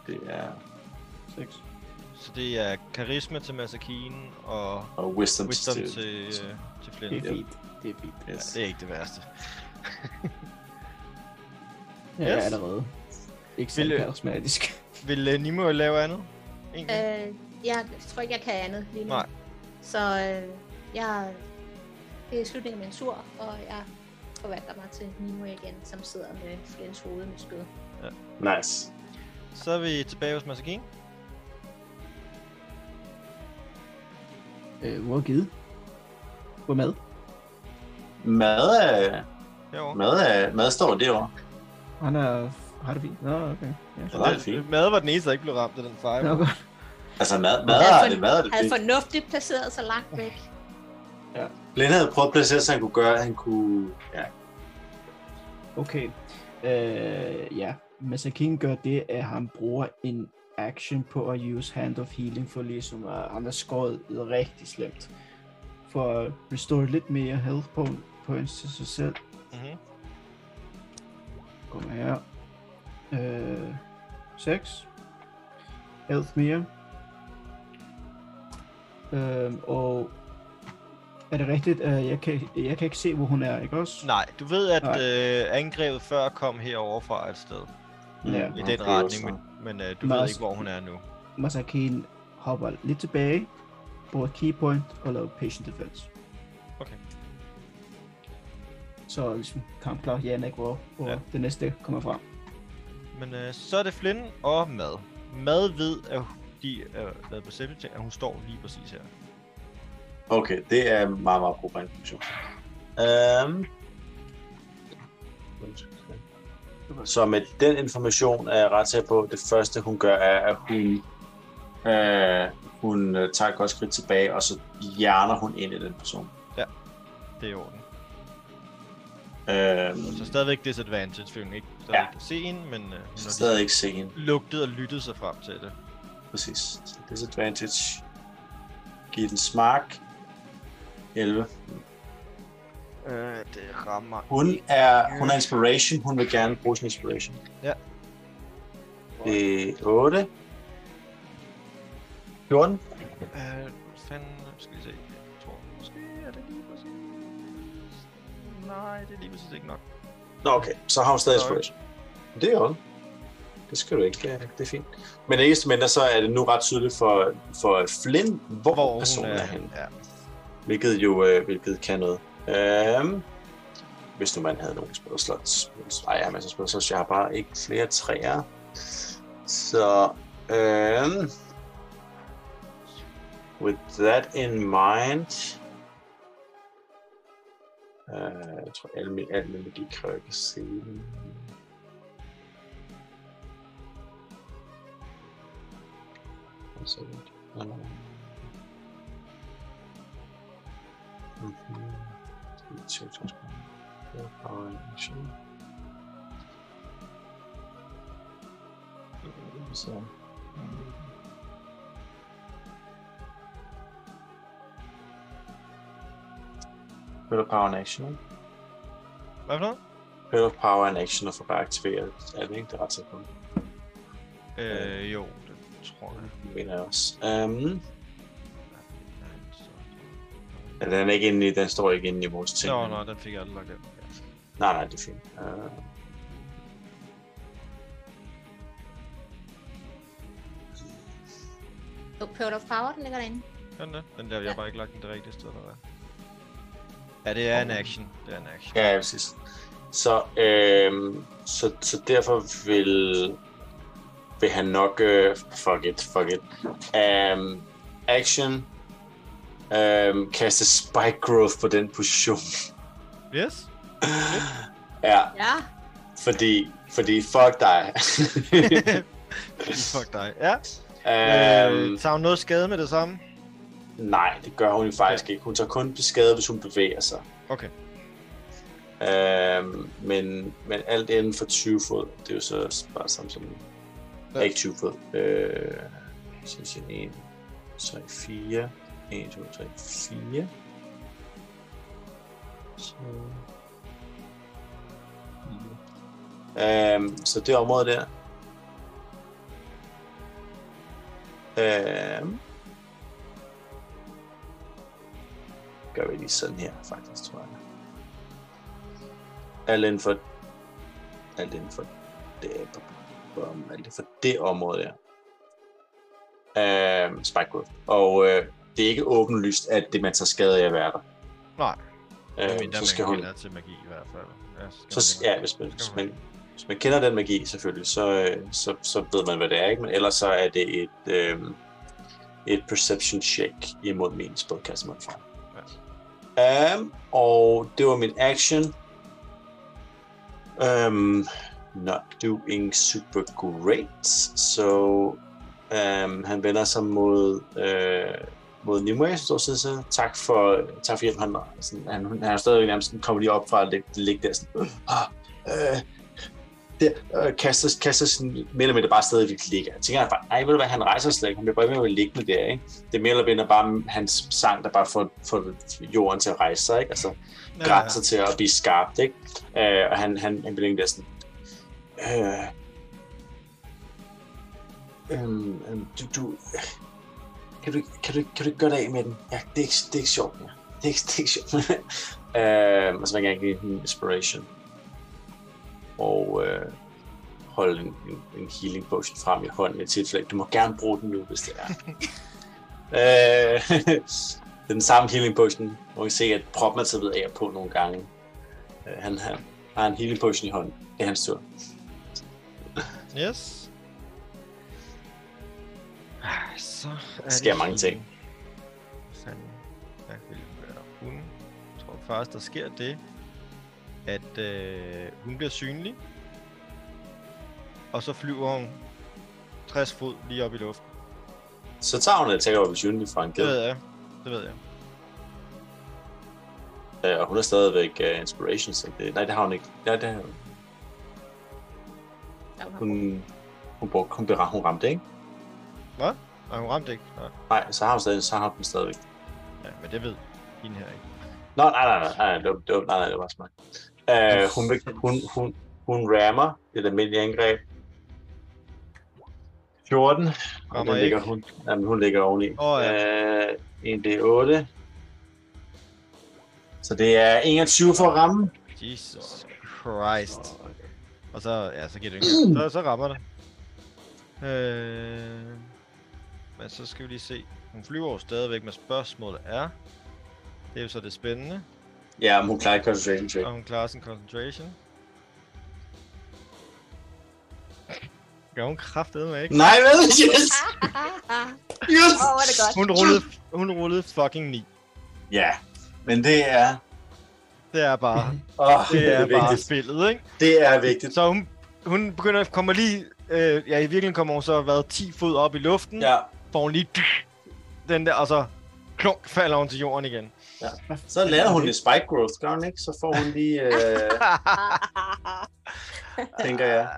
Speaker 3: Det er
Speaker 5: 6.
Speaker 2: Så det er karisma til Masakine og
Speaker 3: og wisdom,
Speaker 2: wisdom
Speaker 3: til,
Speaker 2: til, øh, til Flynn.
Speaker 5: Det er
Speaker 2: Ja,
Speaker 5: fint. Det er fint.
Speaker 3: Yes.
Speaker 2: det er ikke det værste.
Speaker 5: Jeg er
Speaker 2: Yes.
Speaker 5: allerede. Ikke så
Speaker 2: Vil-
Speaker 5: karismatisk.
Speaker 2: Vil øh, Nimo lave andet? Egentlig?
Speaker 6: Øh, jeg tror ikke, jeg kan andet lige nu.
Speaker 2: Nej.
Speaker 6: Så øh, jeg, det er slutningen af min tur, og jeg forvandler mig til Nimo igen, som sidder med Flens hoved med skød.
Speaker 3: Nice.
Speaker 2: Så er vi tilbage hos Masakine.
Speaker 5: Øh, hvor er givet? Hvor er mad?
Speaker 3: Mad er,
Speaker 2: Herovre.
Speaker 3: mad er, mad står derovre.
Speaker 5: Han er... Har det fint? Nå, okay. Ja.
Speaker 3: Ja, det er fint.
Speaker 2: Mad var den eneste, der ikke blev ramt af den fejl.
Speaker 5: Nå, godt.
Speaker 3: Altså mad, mad
Speaker 6: Altså,
Speaker 3: er det, mad er det.
Speaker 6: Han er
Speaker 3: fint.
Speaker 6: fornuftigt placeret så langt væk.
Speaker 3: Blind havde prøvet at placere, så han kunne gøre, han kunne, ja.
Speaker 5: Okay. Øh, ja. Masakin gør det, at han bruger en action på at use Hand of Healing, for ligesom at han er skåret rigtig slemt. For at restore lidt mere health på, points til sig selv.
Speaker 2: Mhm.
Speaker 5: Kom her. Øh, 6. Health mere. Øhm, og er det rigtigt, at jeg kan, jeg kan ikke se, hvor hun er, ikke også?
Speaker 2: Nej, du ved, at
Speaker 5: Nej.
Speaker 2: øh, angrebet før kom herover fra et sted.
Speaker 5: Ja.
Speaker 2: I
Speaker 3: Mm,
Speaker 2: den
Speaker 3: det er
Speaker 2: retning,
Speaker 3: også-
Speaker 2: men, men øh, du
Speaker 5: Men
Speaker 2: ved
Speaker 5: også-
Speaker 2: ikke, hvor hun er nu.
Speaker 5: Masakin hopper lidt tilbage, bruger keypoint og laver patient defense.
Speaker 2: Okay.
Speaker 5: Så ligesom kampklar Janik, hvor, hvor
Speaker 2: Ja.
Speaker 5: ja. det næste kommer frem.
Speaker 2: Men øh, så er det Flynn og Mad. Mad ved, at hu- de er øh, lavet perception check, at hun står lige præcis her.
Speaker 3: Okay, det er meget, meget brugbar information. Øhm... Så med den information er jeg ret sikker på, at det første hun gør, er, at hun, øh, hun øh, tager et godt skridt tilbage, og så hjerner hun ind i den person.
Speaker 2: Det er i orden.
Speaker 3: Øh,
Speaker 2: Så stadigvæk disadvantage, fordi hun ikke stadigvæk ja. kan se hende, men øh, hun
Speaker 3: så
Speaker 2: har
Speaker 3: stadig ikke se hende.
Speaker 2: lige lugtet og lyttet sig frem til det.
Speaker 3: Præcis. Så Disadvantage. Giv den smark. 11.
Speaker 2: Øh, det rammer.
Speaker 3: Hun er, hun er inspiration. Hun vil gerne bruge sin inspiration.
Speaker 2: Ja.
Speaker 3: Det er 8. 14.
Speaker 2: Øh, fanden, skal vi se. Jeg tror måske, er det lige præcis... Nej, det er lige præcis ikke nok.
Speaker 3: Nå, okay. Så har hun stadig
Speaker 2: Sorry.
Speaker 3: inspiration. Det er jo Det skal du ikke. Det er, det er fint. Men ikke desto mindre, så er det nu ret tydeligt for, for Flynn, hvor, hvor personen er, er henne.
Speaker 2: Ja.
Speaker 3: Hvilket jo øh, hvilket kan noget. Øhm, hvis nu man havde nogen spil slots. Nej, jeg har masser af spil slots. Jeg har bare ikke flere træer. Så... Øhm, with that in mind... Øh, jeg tror, alle min, al min magi kræver, at jeg kan se den. One second. Nå, nå, nå. Mhm. Initiativsspil. Det er power action. Øh, Så. Hørte power and action, ikke?
Speaker 2: Hvad for noget?
Speaker 3: Hørte power and action og får bare aktiveret. Er det ikke det ret til på?
Speaker 2: Øh, jo, det tror jeg.
Speaker 3: Det mener jeg også. Um,
Speaker 2: Så-
Speaker 3: den, er ikke inde i, den står ikke inde i vores ting.
Speaker 2: Nå, nej, den fik jeg aldrig lagt ind. Ja.
Speaker 3: Nej, nej, det er fint. Uh...
Speaker 6: Jo, Pearl of Power, den ligger derinde.
Speaker 2: Den der, den der, jeg har bare ikke lagt den det rigtige sted, eller hvad? Ja, det er en action. Det er en action.
Speaker 3: Ja, ja, præcis. Så, øhm, så, så derfor vil, vil han nok... Øh, fuck it, fuck it. Um, action. Um, kaste spike growth på den position. (laughs)
Speaker 2: Yes?
Speaker 3: ja,
Speaker 6: (laughs) Ja.
Speaker 3: fordi, fordi fuck dig. (laughs)
Speaker 2: Fuck dig. Ja.
Speaker 3: um,
Speaker 2: Øh, tager hun noget skade med det samme?
Speaker 3: nej, det gør hun jo faktisk ikke. Hun tager kun skade, hvis hun bevæger sig.
Speaker 2: Okay.
Speaker 3: Øhm, men, men alt inden for 20 fod, det er jo så bare samme som...
Speaker 2: Ja.
Speaker 3: Ja. Ikke 20 fod. Øh, så siger 1, 3, 4. 1, 2, 3, 4. Så... Øhm, så det område der. Øhm, gør vi lige sådan her, faktisk, tror jeg. Alt inden for... Alt inden for det, om, alt inden for det område der. Øhm, spike growth. Og øh, det er ikke åbenlyst, at det man tager skade af at være der.
Speaker 2: Nej.
Speaker 3: Øhm, så skal hun,
Speaker 2: er til magi i hvert fald. Ja, skal
Speaker 3: så,
Speaker 2: man-
Speaker 3: ja, hvis man, hvis, man, hvis man kender den magi selvfølgelig, så, øh, så, så ved man, hvad det er. Ikke? Men ellers så er det et, øh, et perception check imod min spellcast modifier. Ja. Um, og det var min action. Um, not doing super great. Så um, han vender sig mod, øh, mod Nimue, som står sådan, så tak for, tak for hjælp. Han, var sådan, han, han er stadigvæk nærmest sådan, kommer lige op fra at ligge, ligge der sådan, ah, øh, der, øh, kaster, kaster sådan, mere eller mindre bare stadigvæk ligger. Jeg tænker, bare, nej, ved du hvad, han rejser slet ikke, han bliver bare ved med at ligge med der, ikke? Det er mere eller mindre bare hans sang, der bare får, får jorden til at rejse sig, ikke? Altså,
Speaker 2: Ja,
Speaker 3: ja, grænser til at blive skarpt, ikke? Øh, og han, han, han bliver egentlig der sådan... Øh, øhm, øhm, du, du, kan du, ikke- kan, du, ikke- kan du ikke gøre det af med den? Ja, det er ikke, det er ikke sjovt mere. Det er ikke, det er ikke sjovt (laughs) øh, Og så vil jeg gerne give hende inspiration. Og øh, holde en, en, en healing potion frem i hånden i tilfælde. Du må gerne bruge den nu, hvis det er.
Speaker 2: (laughs)
Speaker 3: øh, (laughs) Det er den samme healing potion. Man kan se, at proppen er taget af på nogle gange. Øh, han, han har en healing potion i hånden. Det er hans tur.
Speaker 2: ja. Yes. Ah, Så er det
Speaker 3: sker mange ting.
Speaker 2: Fanden. Jeg vil være hun. Jeg tror faktisk, der sker det, at øh, hun bliver synlig. og så flyver hun 60 fod lige op i luften.
Speaker 3: Så tager hun et attack of opportunity fra en
Speaker 2: Det
Speaker 3: ged,
Speaker 2: ved jeg. Det ved jeg.
Speaker 3: øh, og hun er stadigvæk uh, inspiration, så det, nej, det har hun ikke. Nej, det har hun.
Speaker 6: Ja, hun har-
Speaker 3: Hun, hun, brugte, hun, blev, ra- hun ramte, ikke?
Speaker 2: Nej, hun ramte ikke. Nej.
Speaker 3: Nej, så har hun stadig, så har hun den stadigvæk.
Speaker 2: Ja, men det ved hende her ikke.
Speaker 3: Nå, nej, nej, nej, nej, det var, det var, nej, nej, det var smart. Øh, hun, vil- hun, hun, hun rammer et almindeligt angreb. 14.
Speaker 2: Rammer
Speaker 3: Rammer den ligger
Speaker 2: ikke.
Speaker 3: hun, jamen, hun ligger oveni.
Speaker 2: Åh, ja.
Speaker 3: øh, en D8. Så det er 21 for at ramme.
Speaker 2: Jesus Christ. Og så, ja, så giver det ikke
Speaker 3: (clears throat)
Speaker 2: engang. så, så rammer det. Øh, men så skal vi lige se. Hun flyver jo stadigvæk, men spørgsmålet er... Det er jo så det spændende,
Speaker 3: Ja, men hun klarer ikke concentration check.
Speaker 2: og hun klarer sin concentration. Gør hun kraftedeme ikke?
Speaker 3: Nej, vel? Yes! Yes!
Speaker 6: Åh, hvor er det godt.
Speaker 2: Hun rullede, hun rullede fucking 9.
Speaker 3: Ja, men det er...
Speaker 2: Det er
Speaker 3: (laughs)
Speaker 2: bare,
Speaker 3: Åh,
Speaker 2: det er bare
Speaker 3: vigtigt.
Speaker 2: spillet, ikke?
Speaker 3: Det er vigtigt.
Speaker 2: Så hun, hun begynder at komme lige... Øh, ja, i virkeligheden kommer hun så at have været 10 fod op i luften.
Speaker 3: Ja,
Speaker 2: får hun lige den der, og så klunk falder hun til jorden igen.
Speaker 3: så lader hun lidt spike growth, gør hun ikke? Så får hun lige,
Speaker 6: (laughs)
Speaker 3: øh, tænker jeg.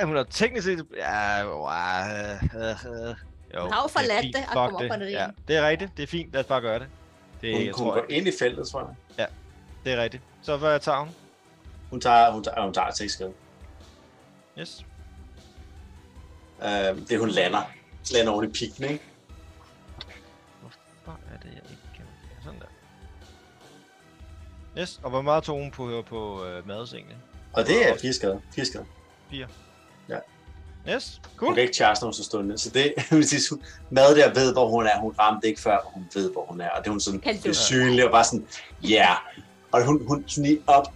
Speaker 2: Ah, hun har teknisk set... Ja, wow, øh, øh, øh. jo,
Speaker 6: Hun har
Speaker 2: det er
Speaker 6: jo forladt
Speaker 2: fint,
Speaker 6: det og
Speaker 2: fuck
Speaker 6: kommer op på det
Speaker 2: Ja,
Speaker 6: igen.
Speaker 2: det er rigtigt. Det er fint. Lad os bare gøre det. Det,
Speaker 3: Hun,
Speaker 2: jeg
Speaker 3: hun
Speaker 2: tror,
Speaker 3: går ind i feltet, tror jeg.
Speaker 2: det er rigtigt. Så hvad tager hun?
Speaker 3: Hun tager, hun tager, hun tager seks skade.
Speaker 2: Yes.
Speaker 3: Øh, det er, hun lander. Lander oven i pikken, ikke?
Speaker 2: Hvor er det, jeg ikke kan... ja, Sådan der. Yes, og hvor meget tog hun på, på øh, mads egentlig?
Speaker 3: Og det er fire skade. Fire skade.
Speaker 2: Yes,
Speaker 3: Hun
Speaker 2: cool.
Speaker 6: Uh.
Speaker 3: kan ikke charge, når hun står stående. Så det, (laughs) vil sige, hun- mad der ved, hvor hun er. Hun ramte ikke før, og hun ved, hvor hun er. Og det er hun sådan
Speaker 6: Kan du-
Speaker 3: det synlig og bare sådan, ja. Yeah. Og hun, hun sådan lige op,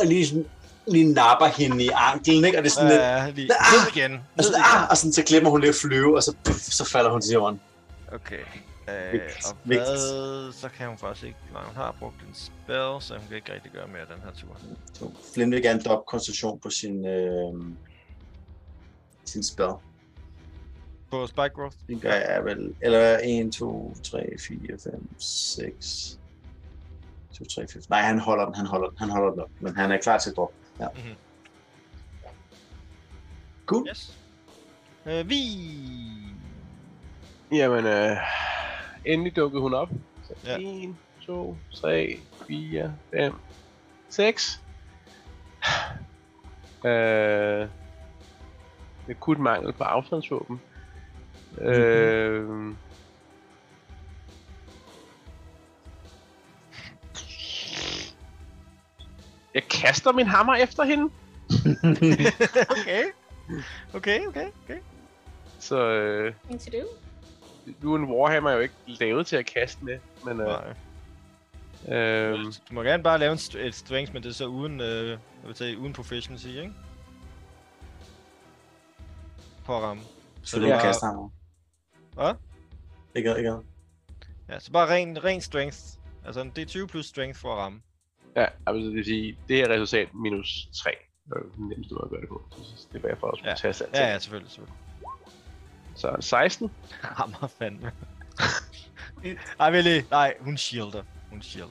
Speaker 3: og lige, sådan, lige napper hende i anklen, ikke? Og det er sådan lidt,
Speaker 2: Ja, lige ned igen.
Speaker 3: og,
Speaker 2: Ned
Speaker 3: sådan,
Speaker 2: igen.
Speaker 3: ah, og sådan, så glemmer hun lige at flyve, og så, puff, så falder hun til jorden.
Speaker 2: Okay. Øh,
Speaker 3: Vigtigt.
Speaker 2: og
Speaker 3: Vigtigt.
Speaker 2: hvad, så kan hun faktisk ikke... Nej, hun har brugt en spell, så hun kan ikke rigtig gøre mere den her tur.
Speaker 3: Så Flynn vil gerne dobbelt koncentration på sin, øh, sin spell.
Speaker 2: På Spike Growth?
Speaker 3: Den gør jeg vel. Eller 1, 2, 3, 4, 5, 6. 2, 3, 4. Nej, han holder den, han holder den, han holder den op. Men han er klar til at droppe. Ja.
Speaker 2: Mhm.
Speaker 3: Cool.
Speaker 2: Yes. Øh, vi...
Speaker 4: Jamen, øh, endelig dukkede hun op.
Speaker 2: Ja.
Speaker 4: 1, 2, 3, 4, 5, 6. Øh, det kunne mangel på afstandsvåben.
Speaker 2: Mhm.
Speaker 4: Øh, jeg kaster min hammer efter hende.
Speaker 2: (laughs) okay. Okay, okay, okay.
Speaker 4: Så øh,
Speaker 6: Indtil det.
Speaker 4: nu er en Warhammer jo ikke lavet til at kaste med. Men, øh,
Speaker 2: Nej.
Speaker 4: øh,
Speaker 2: Du må gerne bare lave en st- et strength, men det er så uden, øh, jeg vil sige, uden proficiency, ikke? For at ramme.
Speaker 3: Så det er
Speaker 2: bare-
Speaker 3: kaster ham.
Speaker 2: Hvad?
Speaker 3: Ikke noget, ikke noget.
Speaker 2: Ja, så bare ren, ren strength. Altså en D20 plus strength for at ramme.
Speaker 4: Ja, altså det vil sige, det her resultat minus 3. Det er jo den nemmeste måde at gøre det på. Så Det var jeg for at skulle ja. tage
Speaker 2: Ja, ja, selvfølgelig, selvfølgelig.
Speaker 4: Så 16.
Speaker 2: Rammer fandme. Ej, vel, øh, nej, hun shielder. Hun shielder.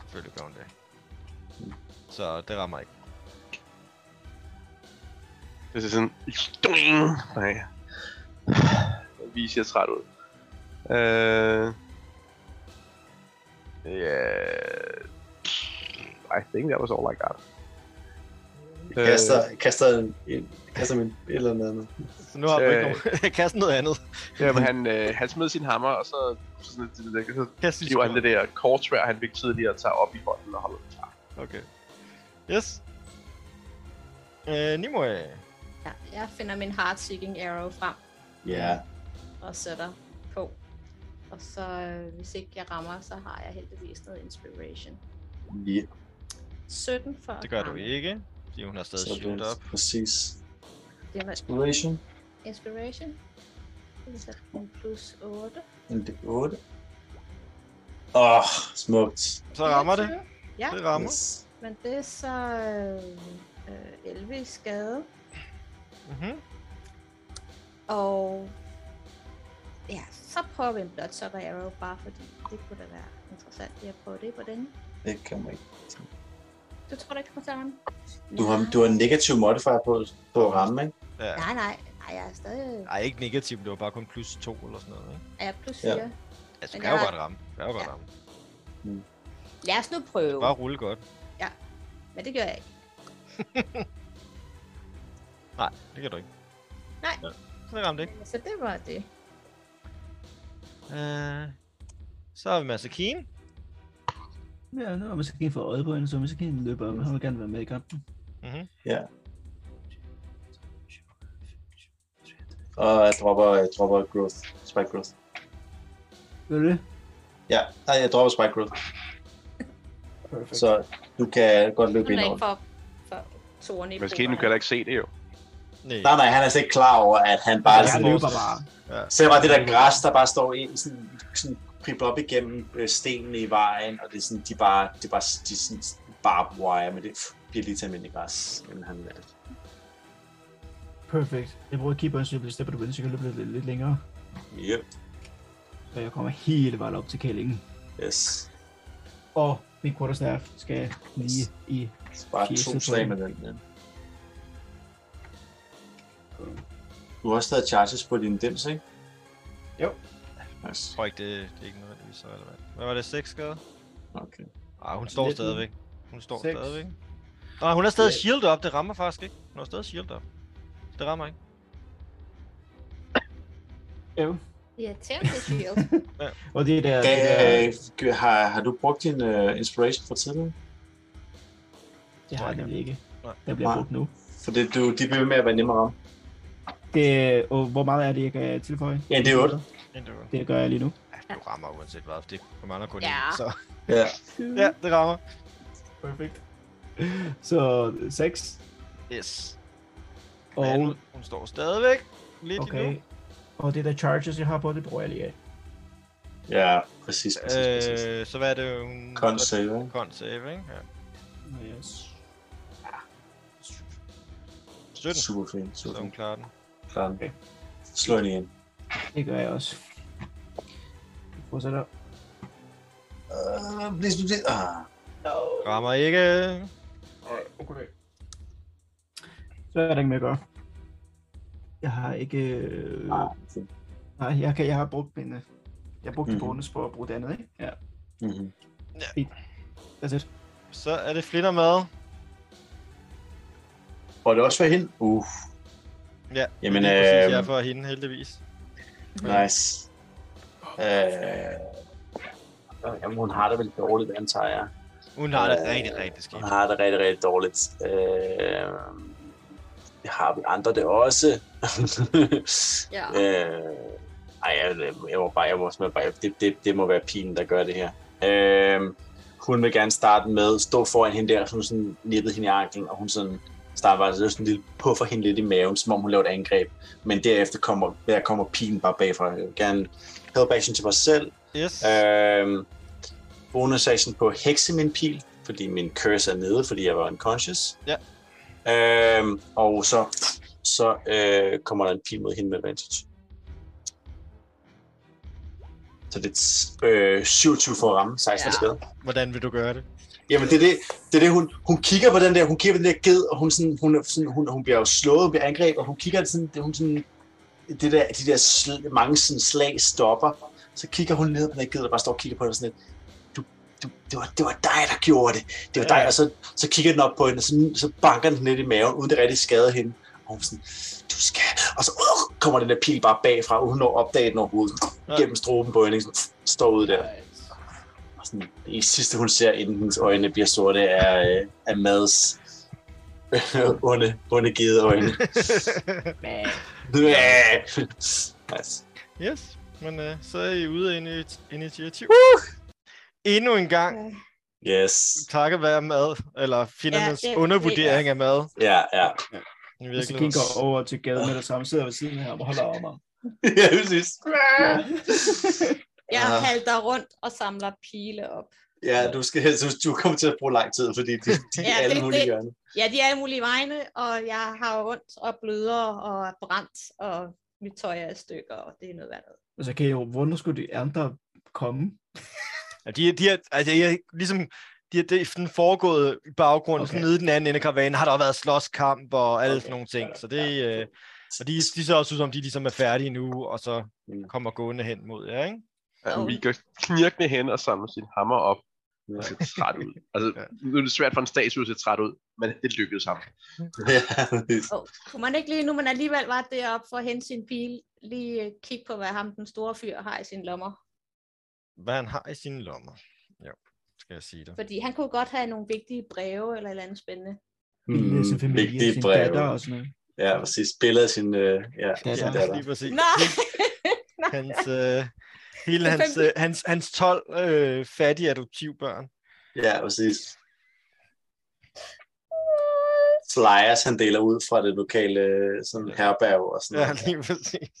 Speaker 2: Selvfølgelig gør hun det. Så det rammer ikke.
Speaker 4: Det er sådan... Doing! Nej. Jeg viser jeg træt ud. Øh... Yeah. I think that was all I got. Øh.
Speaker 3: Jeg kaster, jeg kaster, en, en, jeg kaster min et eller andet andet.
Speaker 2: Så nu har du ikke
Speaker 4: Øh.
Speaker 2: nogen. (laughs) Kast noget andet.
Speaker 4: Øh, jamen, han, øh, han smed sin hammer, og så, så, sådan, så, så, så
Speaker 2: Kast lige
Speaker 4: hiver han
Speaker 2: skål.
Speaker 4: det der kortsvær, han fik tidligere, og tager op i hånden og holder den klar.
Speaker 2: Okay. Yes. Øh, Nimue.
Speaker 6: Ja, jeg finder min heart-seeking arrow frem
Speaker 3: Ja.
Speaker 6: og sætter på. Og så øh, hvis ikke jeg rammer, så har jeg heldigvis noget inspiration.
Speaker 3: ja.
Speaker 6: 17 for
Speaker 2: Det gør
Speaker 6: at
Speaker 2: du
Speaker 6: ramme.
Speaker 2: ikke. Fordi hun har stadig
Speaker 3: Så
Speaker 2: shield
Speaker 3: det
Speaker 2: op.
Speaker 3: er præcis.
Speaker 6: Det er med
Speaker 3: Inspiration.
Speaker 6: inspiration. Det er så en plus 8.
Speaker 3: En D8. Åh, oh, smukt.
Speaker 2: Så rammer det.
Speaker 6: 24. Ja,
Speaker 2: Det rammer.
Speaker 3: Yes.
Speaker 6: men det er så øh, øh, 11 i skade.
Speaker 2: Mm-hmm.
Speaker 6: Og ja, så prøver vi en blot sucker arrow, bare fordi det kunne da være interessant lige at prøve det på den.
Speaker 3: Det kommer ikke.
Speaker 6: Du tror da ikke, kommer til at ramme?
Speaker 3: Du har, du har en negativ modifier på, på at ramme, ikke?
Speaker 2: Ja.
Speaker 6: Nej, nej, nej, jeg er stadig...
Speaker 2: Nej, ikke negativt, det var bare kun plus 2 eller sådan noget, ikke?
Speaker 6: Er jeg plus
Speaker 3: Ja.
Speaker 6: 4? Ja.
Speaker 2: Altså,
Speaker 6: Men
Speaker 2: du kan jo
Speaker 6: jeg-
Speaker 2: godt ramme. Du kan jo godt
Speaker 6: Ja.
Speaker 2: ramme.
Speaker 6: Lad os nu prøve.
Speaker 2: Bare rulle godt.
Speaker 6: Men det gør jeg ikke.
Speaker 2: Nej, det kan du ikke.
Speaker 6: Nej.
Speaker 2: Ja. Så ramte det ikke.
Speaker 6: Så det var det.
Speaker 2: Øh, så har vi Master Keen.
Speaker 5: Ja, nu har man så kan få øje på hende, så man så kan løbe op. Han vil gerne være med i kampen.
Speaker 2: Mm-hmm.
Speaker 3: Og jeg dropper, jeg dropper growth. Spike growth.
Speaker 5: Gør du det?
Speaker 3: Ja, nej, jeg dropper spike growth.
Speaker 5: Perfekt.
Speaker 3: Så du kan godt løbe
Speaker 6: Hun
Speaker 3: ind
Speaker 6: er
Speaker 3: over
Speaker 6: ikke
Speaker 3: det.
Speaker 6: for, for toren i
Speaker 4: Men skete, nu kan
Speaker 6: bordet.
Speaker 4: jeg da ikke se det jo.
Speaker 2: Nej.
Speaker 3: Nej, nej, han er slet ikke klar over, at han bare...
Speaker 5: Jeg
Speaker 3: sådan-
Speaker 5: løber bare.
Speaker 3: Så er bare det der græs, der bare står i, sådan, sådan pripper op igennem øh, stenene i vejen, og det er sådan, de bare, det er bare, de er sådan barbed wire, men det bliver lige til almindelig græs, inden han er
Speaker 5: Perfekt. Jeg bruger keeper så jeg bliver steppet ud, så jeg kan løbe lidt, lidt længere.
Speaker 3: Yep,
Speaker 5: Så jeg kommer hele vejen op til kællingen.
Speaker 3: yes.
Speaker 5: Og min quarterstaff skal lige i...
Speaker 3: Så bare
Speaker 5: Jesus,
Speaker 3: to slag med
Speaker 5: mand.
Speaker 3: den. Ja. Du har også taget charges på din dims, ikke?
Speaker 5: Jo.
Speaker 2: Jeg
Speaker 3: Nice.
Speaker 2: tror ikke, det, det er ikke nødvendigvis så relevant. Hvad var det? 6 skade?
Speaker 3: Okay.
Speaker 2: Nej, hun står
Speaker 5: Nitten.
Speaker 2: stadigvæk. Hun står
Speaker 5: Seks.
Speaker 2: stadigvæk. Nej, hun har stadig
Speaker 5: Ja.
Speaker 2: shield op. Det rammer faktisk ikke. Hun har stadig shield op. Det rammer ikke.
Speaker 5: Jo.
Speaker 6: Irriterende shield.
Speaker 5: Og det der...
Speaker 3: Gav,
Speaker 5: Det der
Speaker 3: øh, g- har, har du brugt din uh, inspiration fra tidligere?
Speaker 5: det har jeg nemlig ikke.
Speaker 2: Nej.
Speaker 5: Der bliver
Speaker 3: Nej.
Speaker 5: brugt nu.
Speaker 3: For det, du, de bliver ved med at være nemmere om.
Speaker 5: Det, og hvor meget er det, jeg kan tilføje?
Speaker 3: Ja, det er otte.
Speaker 2: Men det var-
Speaker 5: Det gør jeg lige nu.
Speaker 2: Ja, du rammer uanset hvad. Det du mangler kun
Speaker 6: Ja.
Speaker 2: én, så... (laughs)
Speaker 3: Ja.
Speaker 2: Ja, det rammer.
Speaker 5: Perfekt. Så 6.
Speaker 2: Yes. Og...
Speaker 5: Og,
Speaker 2: hun, hun står stadigvæk. Lidt okay.
Speaker 5: okay.
Speaker 2: endnu.
Speaker 5: og det der charges, jeg har på, det bruger jeg lige af.
Speaker 3: Ja, præcis, præcis, præcis. Øh,
Speaker 2: Øh, så hvad er det? Hun...
Speaker 3: Con save, ikke?
Speaker 2: Con save, ikke? Ja.
Speaker 5: Yes.
Speaker 2: 17,
Speaker 3: Super fint, super
Speaker 2: så hun
Speaker 3: fint.
Speaker 2: klarer den.
Speaker 3: Klar.
Speaker 5: Okay.
Speaker 3: Slå hende igen.
Speaker 5: Det gør jeg også. Jeg fortsætter.
Speaker 3: Uh, please, please. Ah.
Speaker 2: Rammer ikke.
Speaker 5: Okay. Så er der ikke mere at gøre. Jeg har ikke... Øh...
Speaker 3: Ah,
Speaker 5: Nej, jeg, kan, jeg har brugt mine... Jeg brugte mm
Speaker 3: Mhm.
Speaker 5: bonus på at bruge det andet, ikke? Ja,
Speaker 3: mm-hmm.
Speaker 5: that's it.
Speaker 2: Så er det flitter med.
Speaker 3: Og det er også for hende? Uh,
Speaker 2: Ja,
Speaker 3: Jamen,
Speaker 2: lige præcis,
Speaker 3: øhm,
Speaker 2: jeg er for hende heldigvis.
Speaker 3: nice. Øh, jamen, hun har det vel dårligt, antager jeg.
Speaker 2: Hun har det
Speaker 3: øh,
Speaker 2: rigtig, rigtig skidt.
Speaker 3: Hun har det rigtig, rigtig dårligt. Øh, det har vi andre det også.
Speaker 6: (laughs)
Speaker 3: (laughs)
Speaker 6: ja.
Speaker 3: øh, ej, jeg, jeg, må bare, jeg må simpelthen bare, det, det, det må være pigen, der gør det her. Øh, hun vil gerne starte med at stå foran hende der, som sådan nippede hende i anklen, og hun sådan starter bare så sådan lidt puffer hende lidt i maven, som om hun laver et angreb. Men derefter kommer, der kommer pigen bare bagfra. Jeg vil gerne help action til mig selv.
Speaker 2: Yes.
Speaker 3: Øh, bonus action på hekse min pil, fordi min curse er nede, fordi jeg var unconscious.
Speaker 2: Ja.
Speaker 3: Øh, og så, så øh, kommer der en pil mod hende med advantage. Så det er øh, 27 for at ramme, 16
Speaker 6: Ja.
Speaker 3: ja. skade.
Speaker 2: Hvordan vil du gøre
Speaker 5: (laughs)
Speaker 2: det?
Speaker 3: Jamen, det er det, det, er det hun, hun kigger på den der, hun kigger på den der ged, og hun, sådan, hun, er sådan, hun, hun bliver jo slået ved angreb, og hun kigger sådan, det, hun sådan, det der, de der sl, mange sådan slag stopper, så kigger hun ned på den der ged, og bare står og kigger på den sådan lidt, du, du, det, var, det var dig, der gjorde det, det var
Speaker 2: Ja.
Speaker 3: ja. dig, og så, så kigger den op på hende, og så, så banker den lidt i maven, uden det rigtig skader hende, og hun sådan, du skal, og så uh, kommer den der pil bare bagfra, uden at opdage den overhovedet,
Speaker 2: Ja.
Speaker 3: gennem stroben på hende, sådan, står ud der. Og sådan, det sidste, hun ser, inden hendes øjne bliver sorte, er, øh, er Mads (laughs) onde, onde givet øjne. Bæh. altså,
Speaker 2: yes. Men øh, så er I ude af ini- initiativ. Uh! Endnu en gang.
Speaker 3: yes.
Speaker 2: Takket være mad, eller findernes
Speaker 6: Ja,
Speaker 2: ja,
Speaker 6: det-
Speaker 2: undervurdering af mad.
Speaker 3: Ja, ja. (laughs)
Speaker 2: I
Speaker 5: Hvis jeg
Speaker 2: virkeligheden.
Speaker 5: kigger over til gaden med det samme, sidder ved siden af ham og holder om ham.
Speaker 3: ja, præcis.
Speaker 6: Jeg
Speaker 3: Ah.
Speaker 6: halter rundt og samler pile op.
Speaker 3: Ja, du skal helst, du kommer til at bruge lang tid, fordi de, de
Speaker 6: Ja,
Speaker 3: er alle
Speaker 6: det-
Speaker 3: mulige
Speaker 6: det-
Speaker 3: hjørner. (laughs)
Speaker 6: Ja, de er alle mulige vegne, og jeg har ondt og bløder og er brændt, og mit tøj er i stykker, og det er noget værd. noget.
Speaker 5: Altså, kan jeg jo, hvornår skulle de andre komme?
Speaker 2: Ja, de, de er, altså, jeg er ligesom, de er, det er den foregået i baggrunden, okay.
Speaker 5: Okay.
Speaker 2: nede i den anden ende af karavanen, har der også været slåskamp og alle okay.
Speaker 5: Okay,
Speaker 2: sådan nogle ting.
Speaker 5: fair
Speaker 2: Så
Speaker 5: nok,
Speaker 2: det,
Speaker 5: ja.
Speaker 2: øh, og de, de så også ud som, de ligesom er færdige nu, og så
Speaker 3: Mm.
Speaker 2: kommer gående hen mod jer, ikke?
Speaker 4: Ja,
Speaker 6: Åh.
Speaker 4: oh. Mika knirkende hen og samler sin hammer op
Speaker 3: Ja.
Speaker 4: og ser træt (laughs) ud. Altså,
Speaker 2: Ja.
Speaker 4: nu er det svært for en statue at se træt ud, men det lykkedes ham.
Speaker 6: Oh, kunne man ikke lige, nu man alligevel var deroppe for at hente sin pil, lige øh, kigge på, hvad ham den store fyr har i sine lommer?
Speaker 2: Hvad han har i sine lommer. Jo, skal jeg sige dig.
Speaker 6: Fordi han kunne godt have nogle vigtige breve eller et eller andet spændende.
Speaker 5: Min mm, sin familie,
Speaker 3: vigtige
Speaker 5: sin
Speaker 3: breve.
Speaker 5: datter og sådan noget.
Speaker 3: Ja, præcis. Billeder af sin, øh, ja,
Speaker 5: Datter.
Speaker 3: sin
Speaker 2: Ja,
Speaker 3: datter.
Speaker 2: lige præcis.
Speaker 6: Nej! (laughs)
Speaker 2: Hans, øh, hele
Speaker 6: Den
Speaker 2: hans, øh, hans, hans 12 øh, fattige adoptivbørn.
Speaker 3: Ja, præcis. Flyers, han deler ud fra det lokale øh, sådan herberg og sådan
Speaker 2: Ja,
Speaker 3: noget.
Speaker 2: lige præcis.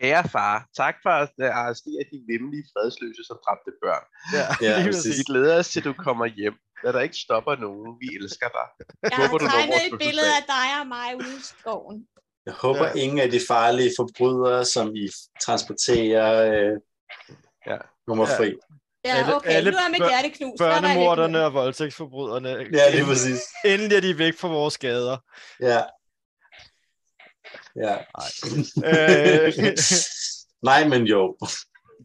Speaker 4: Ære far, tak for at øh, arrestere de vemmelige fredsløse, som dræbte børn.
Speaker 2: (laughs) Ja,
Speaker 3: Ja,
Speaker 2: lige
Speaker 3: præcis.
Speaker 2: præcis.
Speaker 4: Vi glæder os til, at du kommer hjem. Lad dig ikke stopper nogen. Vi elsker dig.
Speaker 6: Jeg
Speaker 4: Håber,
Speaker 6: har
Speaker 4: du når
Speaker 6: tegnet
Speaker 4: vores
Speaker 6: et billede
Speaker 4: fødselsdag.
Speaker 6: af dig og mig ude i skoven.
Speaker 3: Jeg håber,
Speaker 2: Ja.
Speaker 3: ingen af de farlige forbrydere, som I transporterer, øh,
Speaker 4: Ja.
Speaker 3: kommer
Speaker 2: Ja.
Speaker 3: fri.
Speaker 6: Ja,
Speaker 2: Alle-
Speaker 6: okay,
Speaker 2: alle
Speaker 6: nu er mit
Speaker 2: bør-
Speaker 6: hjerte knust. så er der lidt-
Speaker 2: Børnemorderne og voldtægtsforbryderne.
Speaker 3: Ja, lige præcis.
Speaker 2: Endelig er de væk fra vores (laughs) gader.
Speaker 3: Ja. Ja.
Speaker 2: Øh, (laughs)
Speaker 3: (laughs) Nej, men jo.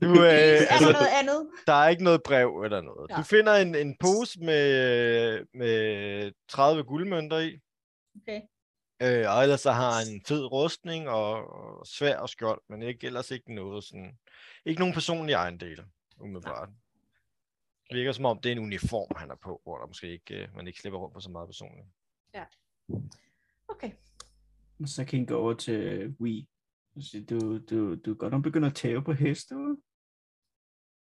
Speaker 2: du,
Speaker 6: Er
Speaker 2: øh,
Speaker 6: der
Speaker 2: altså,
Speaker 6: noget andet?
Speaker 2: der er ikke noget brev eller noget.
Speaker 6: Ja.
Speaker 2: Du finder en, en pose med, øh, med 30 guldmønter i.
Speaker 6: Okay.
Speaker 2: Øh, og ellers så har han en fed rustning og, og svær og skjold, men ikke, ellers ikke noget sådan... Ikke nogen personlige ejendele, umiddelbart. Det virker som om, det er en uniform, han er på, hvor der måske ikke, øh, man ikke slipper rundt på så meget personligt.
Speaker 6: Okay.
Speaker 5: Så kan jeg gå over til øh, Wii. Og sige, Du, du, du er godt nok begynder at tæve på heste, hva'?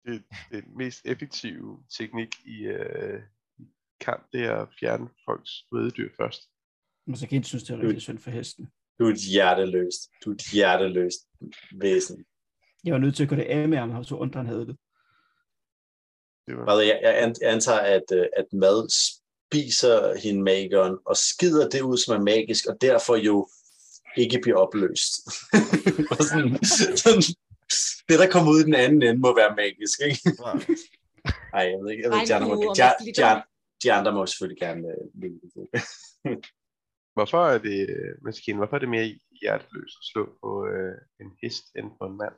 Speaker 4: Det, det mest effektive teknik i øh, i kamp, det er at fjerne folks rødedyr først.
Speaker 5: Men så kan jeg synes, det er
Speaker 4: Mm.
Speaker 5: rigtig synd for hesten.
Speaker 3: Du er et hjerteløst. Du er et hjerteløst væsen.
Speaker 5: Jeg var nødt til at gå det af med ham, og så ondt han havde det.
Speaker 4: Det var...
Speaker 3: Hvad, jeg, jeg an- antager, at, øh, at mad spiser hende magikeren, og skider det ud, som er magisk, og derfor jo ikke bliver opløst. (laughs) Og sådan, sådan, det, der kommer ud i den anden ende, må være magisk, ikke?
Speaker 2: Ja.
Speaker 3: Nej, jeg ved ikke. Jeg ved,
Speaker 6: Ej,
Speaker 3: ikke, de, andre
Speaker 6: nu
Speaker 3: må,
Speaker 6: om
Speaker 3: de,
Speaker 6: lidt.
Speaker 3: de, de andre må selvfølgelig gerne øh, lide det.
Speaker 4: Hvorfor er det, Maskine, hvorfor er det mere hjerteløst at slå på øh, en hest end på en mand?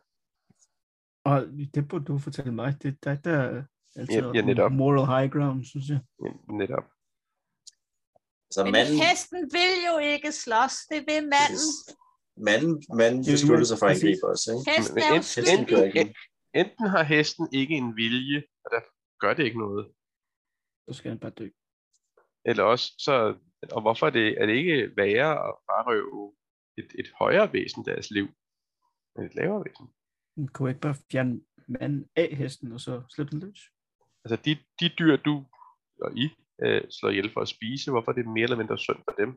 Speaker 5: Og det burde du fortælle mig. Det er dig, der altid
Speaker 4: Ja, ja, netop.
Speaker 5: moral high ground, synes jeg.
Speaker 4: Ja, Netop.
Speaker 3: Altså,
Speaker 6: Men
Speaker 3: manden,
Speaker 6: hesten vil jo ikke slås, det vil manden.
Speaker 3: manden, manden
Speaker 5: Det er
Speaker 3: besluttede sig for at
Speaker 5: præcis.
Speaker 3: angribe os, ikke?
Speaker 6: Hesten
Speaker 4: Men
Speaker 6: er
Speaker 4: en-
Speaker 3: Hesten
Speaker 6: uskyldig.
Speaker 3: gør ikke.
Speaker 4: Enten har hesten ikke en vilje, og derfor gør det ikke noget,
Speaker 5: Så skal han bare dø.
Speaker 4: Eller også, så, og hvorfor er det, er det ikke værre at frarøve et, et højere væsen deres liv, end et lavere væsen?
Speaker 5: Men Kunne jeg ikke bare fjerne manden af hesten, og så slippe den løs?
Speaker 4: Altså de, de dyr, du og I øh, slår ihjel for at spise, hvorfor er det mere eller mindre synd for dem?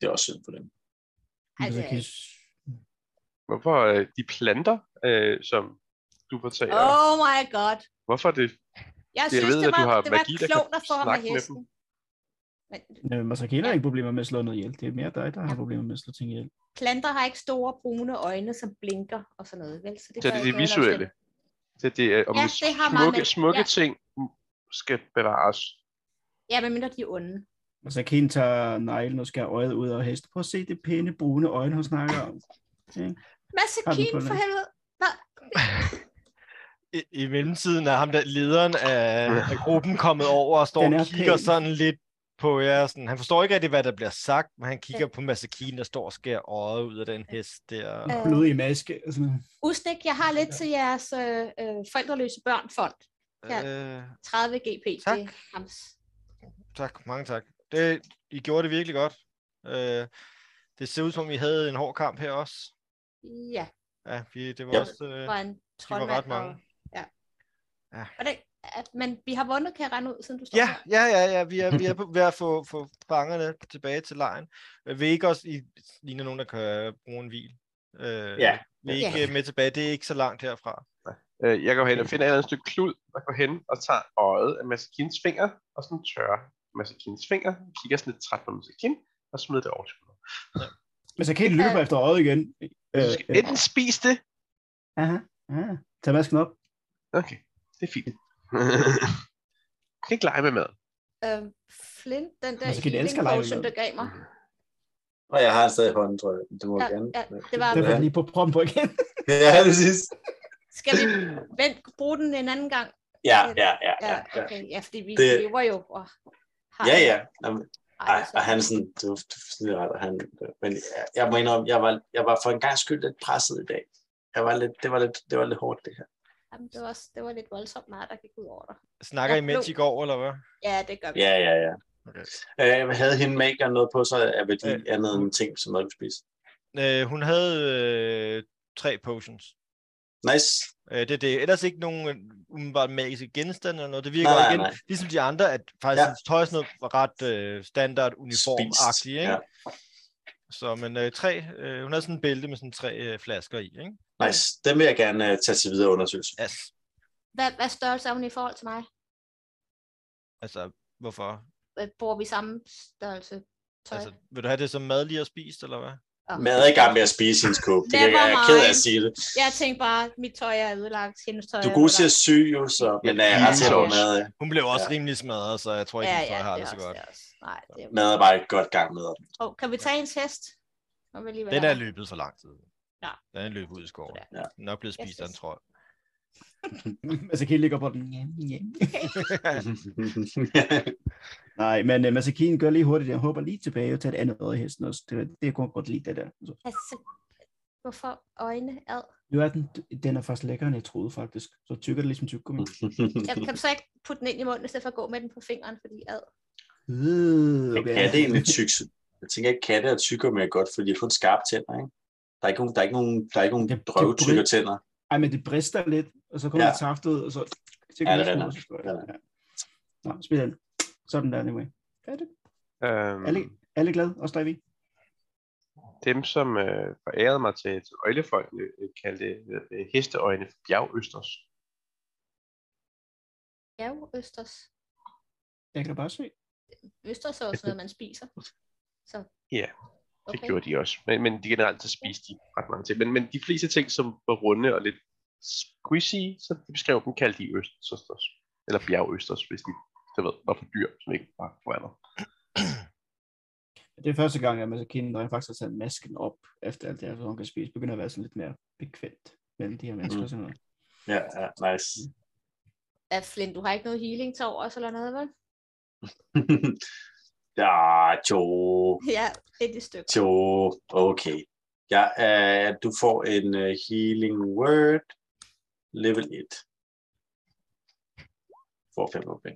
Speaker 3: Det er også synd for dem.
Speaker 5: Men
Speaker 6: Altså,
Speaker 5: så kan jeg s-
Speaker 4: Hvorfor øh, de planter, øh, som du fortæller, oh.
Speaker 6: Oh my god.
Speaker 4: hvorfor er det,
Speaker 6: Jeg
Speaker 4: Jeg
Speaker 6: synes,
Speaker 4: ved,
Speaker 6: det
Speaker 4: at du
Speaker 6: var,
Speaker 4: har
Speaker 6: det var
Speaker 4: magi, der kan
Speaker 6: klogt at få ham af
Speaker 4: snakke med
Speaker 6: hesten.
Speaker 4: dem.
Speaker 6: Men
Speaker 5: Nå, men så kan jeg ikke problemer med at slå noget ihjel. Det er mere dig, der har problemer med at slå ting ihjel.
Speaker 6: planter har ikke store brune øjne, som blinker og sådan noget, vel? Så det,
Speaker 4: så det
Speaker 6: gør
Speaker 4: er
Speaker 6: ikke
Speaker 4: det
Speaker 6: noget, der er
Speaker 4: visuelle?
Speaker 6: slemt.
Speaker 4: Så det er, om
Speaker 6: Ja,
Speaker 4: ja,
Speaker 6: det har meget
Speaker 4: smukke,
Speaker 6: med-
Speaker 4: smukke
Speaker 6: ja.
Speaker 4: ja. ting skal bevares.
Speaker 6: Ja, medmindre de er onde.
Speaker 5: Og så kan jeg tage neglen og skære øjet ud af hesten. Prøv at se det pæne brune øjne, hun snakker om.
Speaker 6: Massakin for
Speaker 5: kolonne.
Speaker 6: helvede.
Speaker 2: I, I mellemtiden er ham der lederen af, af gruppen kommet over og står
Speaker 5: Den
Speaker 2: og
Speaker 5: er
Speaker 2: kigger
Speaker 5: pæn.
Speaker 2: sådan lidt på jer. Sådan. Han forstår ikke rigtig, hvad der bliver sagt, men han kigger på Masakine, der står og skærer øjet ud af den hest der.
Speaker 6: Øh.
Speaker 5: Blodig maske. Og sådan. noget.
Speaker 6: Usnik, jeg har lidt til jeres øh, øh, forældreløse børnfond.
Speaker 2: Øh,
Speaker 6: 30 GP.
Speaker 2: Tak.
Speaker 6: Det er hams.
Speaker 2: tak, mange tak. Det, I gjorde det virkelig godt. Øh, det ser ud som om, I havde en hård kamp her også.
Speaker 6: Ja,
Speaker 2: Ja, vi, det var
Speaker 3: Ja.
Speaker 2: også... Øh,
Speaker 6: var en troldmand.
Speaker 2: ret mange.
Speaker 6: Og, ja.
Speaker 2: Ja.
Speaker 6: Hvordan, at, men vi har vundet, kan jeg regne ud, siden du står
Speaker 2: Ja,
Speaker 6: her.
Speaker 2: ja, ja, ja. Vi er, vi er på, ved at få, få fangerne tilbage til lejen. Øh, Vi er ikke også, I ligner nogen, der kan bruge en hvil. Øh,
Speaker 3: Ja.
Speaker 2: Vi er ikke øh, med tilbage. Det er ikke så langt herfra.
Speaker 4: Øh, jeg går hen og finder et eller andet stykke klud, og går hen og tager øjet af Maskins finger, og sådan tørrer Masakins finger, kigger sådan lidt træt på Masakin, og smider det over til mig.
Speaker 5: Men så kan I løbe efter øjet igen. Øh,
Speaker 4: Du skal enten spise det.
Speaker 5: aha, aha. Tag masken op.
Speaker 4: Okay, det er fint. Du kan ikke lege med mad.
Speaker 6: Øh, Flint, den der
Speaker 5: Altså, kan de elske at
Speaker 6: healing
Speaker 5: lege med
Speaker 6: potion,
Speaker 5: mad?
Speaker 6: der gav mig.
Speaker 3: Og jeg har en stadig hånden, tror jeg. Det må
Speaker 6: Ja,
Speaker 3: jeg gerne.
Speaker 6: ja, det var-
Speaker 5: Det var
Speaker 3: ja.
Speaker 5: lige på prompt på igen. (laughs)
Speaker 3: ja, præcis.
Speaker 6: Skal vi vent, bruge den en anden gang?
Speaker 3: Ja, ja, ja, ja.
Speaker 6: Ja,
Speaker 3: ja.
Speaker 6: okay. Ja, fordi vi
Speaker 3: Det-
Speaker 6: det... lever jo og har...
Speaker 3: Ja, ja. Jamen,
Speaker 6: Ej,
Speaker 3: Ej,
Speaker 6: så-
Speaker 3: og han sådan, du, du sådan ret, og han, men jeg, jeg må indrømme, jeg var, jeg var for en gang skyld lidt presset i dag. Jeg var lidt, det, var lidt, det var lidt hårdt, det her.
Speaker 6: Jamen, det, var også, det var lidt voldsomt meget, der gik ud over dig.
Speaker 2: Snakker I
Speaker 6: Ja,
Speaker 2: mens I
Speaker 6: blå.
Speaker 2: går, eller hvad?
Speaker 6: Ja, det gør vi.
Speaker 3: Ja, ja, ja.
Speaker 2: Okay.
Speaker 3: Øh, jeg havde hende maker noget på, så er vel de
Speaker 2: Øh.
Speaker 3: andet end ting, som noget spise.
Speaker 2: Øh, hun havde øh, tre potions.
Speaker 3: Nice.
Speaker 2: Øh, det er det. Ellers ikke nogen øh, umiddelbart magiske genstande eller noget. Det virker
Speaker 3: Nej,
Speaker 2: nej,
Speaker 3: nej,
Speaker 2: igen, nej.
Speaker 3: nej.
Speaker 2: ligesom de andre, at faktisk
Speaker 3: Ja.
Speaker 2: ja. tøj og sådan noget var ret øh, standard uniformagtigt,
Speaker 3: Spist,
Speaker 2: ikke?
Speaker 3: ja.
Speaker 2: Ja. Så, men øh, tre, øh, hun havde sådan en bælte med sådan tre øh, flasker i, ikke?
Speaker 3: Nice. Den vil jeg gerne uh, tage til videre undersøgelse.
Speaker 2: Yes.
Speaker 6: Hvad, hvad størrelse er hun i forhold til mig?
Speaker 2: Altså, hvorfor?
Speaker 6: Øh, Bor vi samme størrelse tøj?
Speaker 2: Altså, vil du have det som mad lige at spise, eller hvad?
Speaker 6: Og-
Speaker 3: Men jeg er i gang med at spise hendes kåbe. Det kan jeg,
Speaker 6: Never
Speaker 3: jeg er ked af at
Speaker 6: mind.
Speaker 3: sige det.
Speaker 6: Jeg tænkte bare, at mit tøj er ødelagt, hendes tøj
Speaker 3: Du er
Speaker 6: er
Speaker 3: god til at
Speaker 6: ødelagt.
Speaker 3: sy, jo, så, men øh, jeg er ret sikker på, at mad, er-
Speaker 2: Hun blev også
Speaker 3: Ja.
Speaker 2: ja. rimelig smadret, så jeg tror ikke,
Speaker 6: Ja,
Speaker 2: ja, hun
Speaker 6: ja,
Speaker 2: ja, har
Speaker 6: det,
Speaker 2: det
Speaker 6: er
Speaker 2: så
Speaker 6: også,
Speaker 2: godt.
Speaker 6: det er også. Nej, det er...
Speaker 3: mad er bare et godt gang med.
Speaker 6: Oh, kan vi tage hendes hest? Når vi lige
Speaker 2: Den er løbet for lang tid.
Speaker 6: Ja.
Speaker 2: Den er løbet ud i skoven.
Speaker 6: Sådan
Speaker 3: der. Ja.
Speaker 2: Den er nok blevet
Speaker 6: Yes,
Speaker 2: spist af en
Speaker 6: yes.
Speaker 2: trold.
Speaker 5: Masakin ligger på den. Njam, njam. Nej, men uh, Masakin gør lige hurtigt. Jeg hopper lige tilbage og tager et andet øje i hesten også. Det, det kunne jeg godt lide, det der. Så,
Speaker 6: Altså, hvorfor øjne ad?
Speaker 5: nu er den, den er faktisk lækkere, end jeg troede faktisk. Så tykker det ligesom tyk
Speaker 3: Mm.
Speaker 5: gummi.
Speaker 6: Jeg, kan du så ikke putte den ind i munden, i stedet for at gå med den på fingeren, fordi ad?
Speaker 5: Øh,
Speaker 3: (laughs) Men katte er egentlig tyk. Jeg tænker, at katte er tykkere mere godt, fordi de får en skarp tænder, ikke? Der er ikke nogen, der er ikke nogen, der er ikke nogen
Speaker 5: Det- det
Speaker 3: drøvtykke
Speaker 5: bryder-
Speaker 3: tænder.
Speaker 5: Ej, men det brister lidt, og så kommer
Speaker 3: Ja.
Speaker 5: ja. taftet ud, og så... så
Speaker 3: Ja, det er
Speaker 5: det
Speaker 3: nok. Ja, det
Speaker 5: ja. Nå, spil den. Sådan der, anyway. Færdigt.
Speaker 4: Øhm,
Speaker 5: Alle, alle glade, også dig, vi.
Speaker 4: dem, som øh, forærede mig til, til øjlefolkene, øh, kaldte øh, hesteøjne for bjergøsters.
Speaker 6: Ja, jo, østers.
Speaker 5: Jeg kan da bare se.
Speaker 6: Østers er også noget, man spiser. Så.
Speaker 4: Ja, Det gjorde de også. Men, men de generelt så spiste de ret mange ting. Men, men de fleste ting, som var runde og lidt squishy, så de beskrev dem, kaldte de østers. Eller bjergøsters, hvis de du ved, var for dyr, som ikke var for andet.
Speaker 5: Det er første gang, at Masakine, når jeg faktisk har taget masken op, efter alt det her, så hun kan spise, begynder at være sådan lidt mere bekvemt mellem de her mennesker
Speaker 3: Mm.
Speaker 5: og sådan noget.
Speaker 3: Ja, ja, nice.
Speaker 6: At Flint, du har ikke noget healing til overs eller noget, vel?
Speaker 3: (laughs) ja, jo,
Speaker 6: Ja, lidt i stykker.
Speaker 3: jo, okay. Ja, uh, du får en uh, healing word, level 1. Får 5 okay.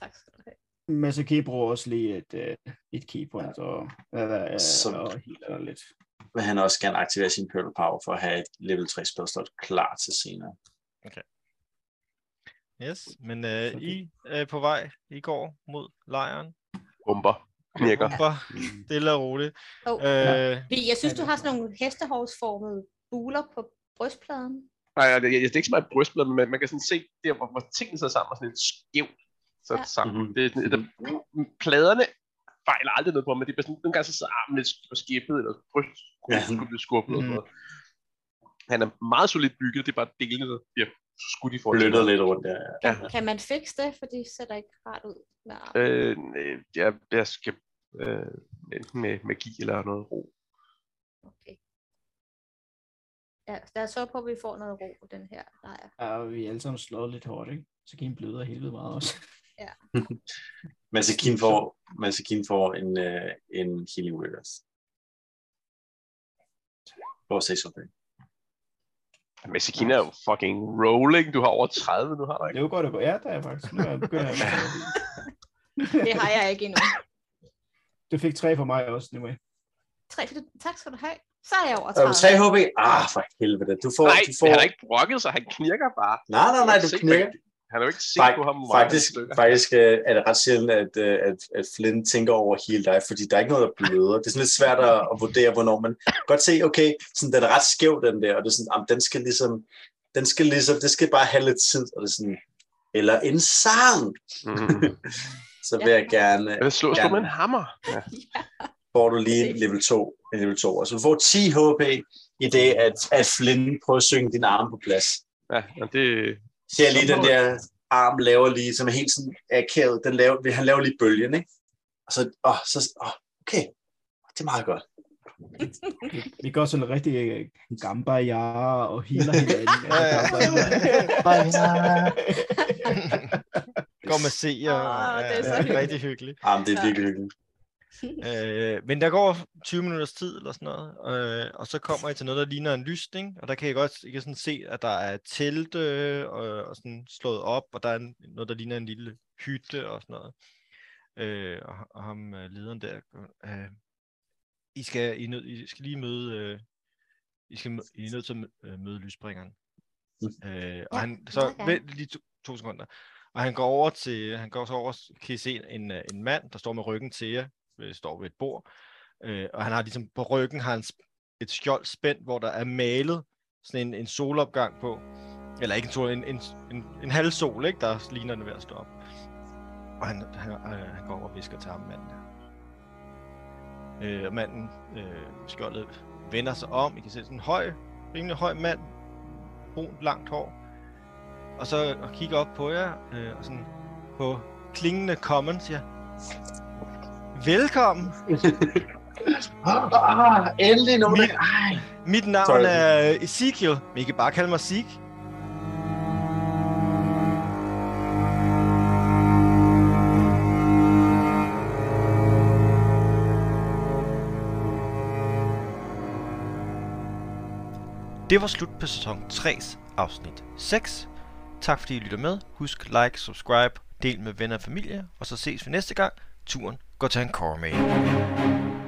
Speaker 6: Tak skal du have.
Speaker 5: Masakine bruger også lige et, øh, et keypoint, og, øh,
Speaker 3: Så-
Speaker 5: og healer lidt.
Speaker 3: Vil han også gerne aktivere sin Pearl Power for at have et level 3 spilslot klar til senere.
Speaker 2: Yes, men øh,
Speaker 5: Så det-
Speaker 2: I er på vej i går mod lejren.
Speaker 4: Bomber. Knækker.
Speaker 2: Bomber, stille og roligt.
Speaker 6: Oh.
Speaker 2: Øh,
Speaker 6: Vi, jeg synes,
Speaker 5: Ja,
Speaker 6: du
Speaker 5: det-
Speaker 6: har sådan nogle hestehovsformede buler på brystpladen.
Speaker 4: Nej, nej, det, det er ikke så meget brystblad, men man, man kan sådan se der, hvor, hvor tingene sidder sammen og sådan lidt skævt sat
Speaker 6: Ja.
Speaker 4: ja. sammen.
Speaker 3: Mhm.
Speaker 4: Det, er sådan- der, pladerne fejler aldrig noget på, men det er bare sådan, nogle gange så sidder armen lidt sk- skæppet, eller bryst
Speaker 3: Ja.
Speaker 4: skulle blive skubbet mm.
Speaker 2: Mhm.
Speaker 4: noget. Han er meget solidt bygget, det er bare delene, der bliver skudt i forhold
Speaker 3: Flytter lidt rundt der.
Speaker 4: Ja.
Speaker 6: Kan man fikse det, for det ser da ikke rart ud? Med armen.
Speaker 4: Øh, nej, jeg, jeg skal øh, enten med magi eller noget ro.
Speaker 6: Okay. Ja, lad os håbe på, at vi får noget ro i den her lejr.
Speaker 5: Ja, og vi er alle sammen slået lidt hårdt, ikke? Så kan bløder helvede meget også.
Speaker 3: Masakin får, Masakin får en, uh, en healing word også. Får 6 okay.
Speaker 4: Messikina er jo fucking rolling, du har over 30 nu, har du ikke?
Speaker 5: (laughs) Det var godt at gå. Ja, der er jeg faktisk. Nu er jeg begyndt at...
Speaker 2: (laughs)
Speaker 6: Det har jeg ikke endnu.
Speaker 5: Du fik tre for mig også, anyway.
Speaker 6: Tre, tak skal du have. Så er jeg over
Speaker 3: Er du 3
Speaker 6: 30.
Speaker 3: HP? Ah, for helvede. Du får,
Speaker 4: Nej,
Speaker 3: du får...
Speaker 4: han har ikke brokket sig, han knirker bare.
Speaker 3: Nej, nej, nej, du
Speaker 4: Se,
Speaker 3: knækker.
Speaker 4: man- Han har jo ikke set
Speaker 3: Fak-
Speaker 4: på ham mange
Speaker 3: Faktisk,
Speaker 4: stykker.
Speaker 3: faktisk øh, er det ret sjældent, at, øh, at, at Flynn tænker over hele dig, fordi der er ikke noget, der bløder. Det er sådan lidt svært at, at vurdere, hvornår man kan godt se, okay, sådan, den er ret skæv, den der, og det er sådan, jamen, den skal ligesom, den skal
Speaker 4: (laughs)
Speaker 3: ligesom, det skal bare have lidt tid, og det er sådan, eller en sang.
Speaker 4: Mm.
Speaker 3: så vil jeg gerne,
Speaker 4: Eller slå, slå
Speaker 3: Ja.
Speaker 4: med en hammer. Ja.
Speaker 3: får du lige en level 2, en level 2, og så du får 10 HP i det, at, at Flynn prøver at synge din arm på plads.
Speaker 4: ja, men det...
Speaker 3: Så jeg lige den der arm laver lige, som er helt sådan akavet, den laver, han laver lige bølgen, ikke? Og så, åh, så, åh, okay, det er meget godt.
Speaker 5: Vi gør sådan rigtig øh, gamba ja og healer hinanden.
Speaker 6: (laughs)
Speaker 2: Ja, ja.
Speaker 5: Altså, gamba, ja.
Speaker 2: (laughs) Går med seer.
Speaker 6: Åh,
Speaker 2: Oh,
Speaker 6: Ah, det er så
Speaker 2: ja,
Speaker 6: hyggeligt.
Speaker 2: rigtig hyggeligt.
Speaker 3: Ah, men det er virkelig hyggeligt.
Speaker 2: Øh, men der går 20 minutters tid eller sådan noget, øh, og så kommer jeg til noget, der ligner en lysning, og der kan jeg godt I kan sådan se, at der er telte øh, og, og sådan slået op, og der er en- noget, der ligner en lille hytte og sådan noget. Øh, og, og ham øh, lederen der, øh, I, skal, I, er nød, I skal lige møde, øh, I, skal, mø- I er nødt til at mø- øh, møde lysbringeren. Øh, og
Speaker 1: Ja,
Speaker 2: han, så
Speaker 1: meget gerne.
Speaker 2: vent lige to, to sekunder. Og han går over til, han går så over, kan I se en, øh, en mand, der står med ryggen til jer, øh, står ved et bord, øh, og han har ligesom, på ryggen har han sp- et skjold spændt, hvor der er malet sådan en, en solopgang på, eller ikke en sol, en, en, en, en halv sol, ikke, der ligner den ved at stå op. Og han, han, øh, han går over og visker til ham, manden her. Øh, og manden, øh, skjoldet, vender sig om, I kan se sådan en høj, rimelig høj mand, brunt, langt hår, og så og kigger op på jer, øh, og sådan på klingende common siger, Velkommen!
Speaker 3: Ah, ah, (laughs) endelig nogen, der...
Speaker 2: Mit, mit navn
Speaker 3: Sorry.
Speaker 2: er Ezekiel, men I kan bare kalde mig Zeke. Det var slut på sæson 3's afsnit 6. Tak fordi I lytter med. Husk like, subscribe, del med venner og familie, og så ses vi næste gang. Turen går til en Cormail.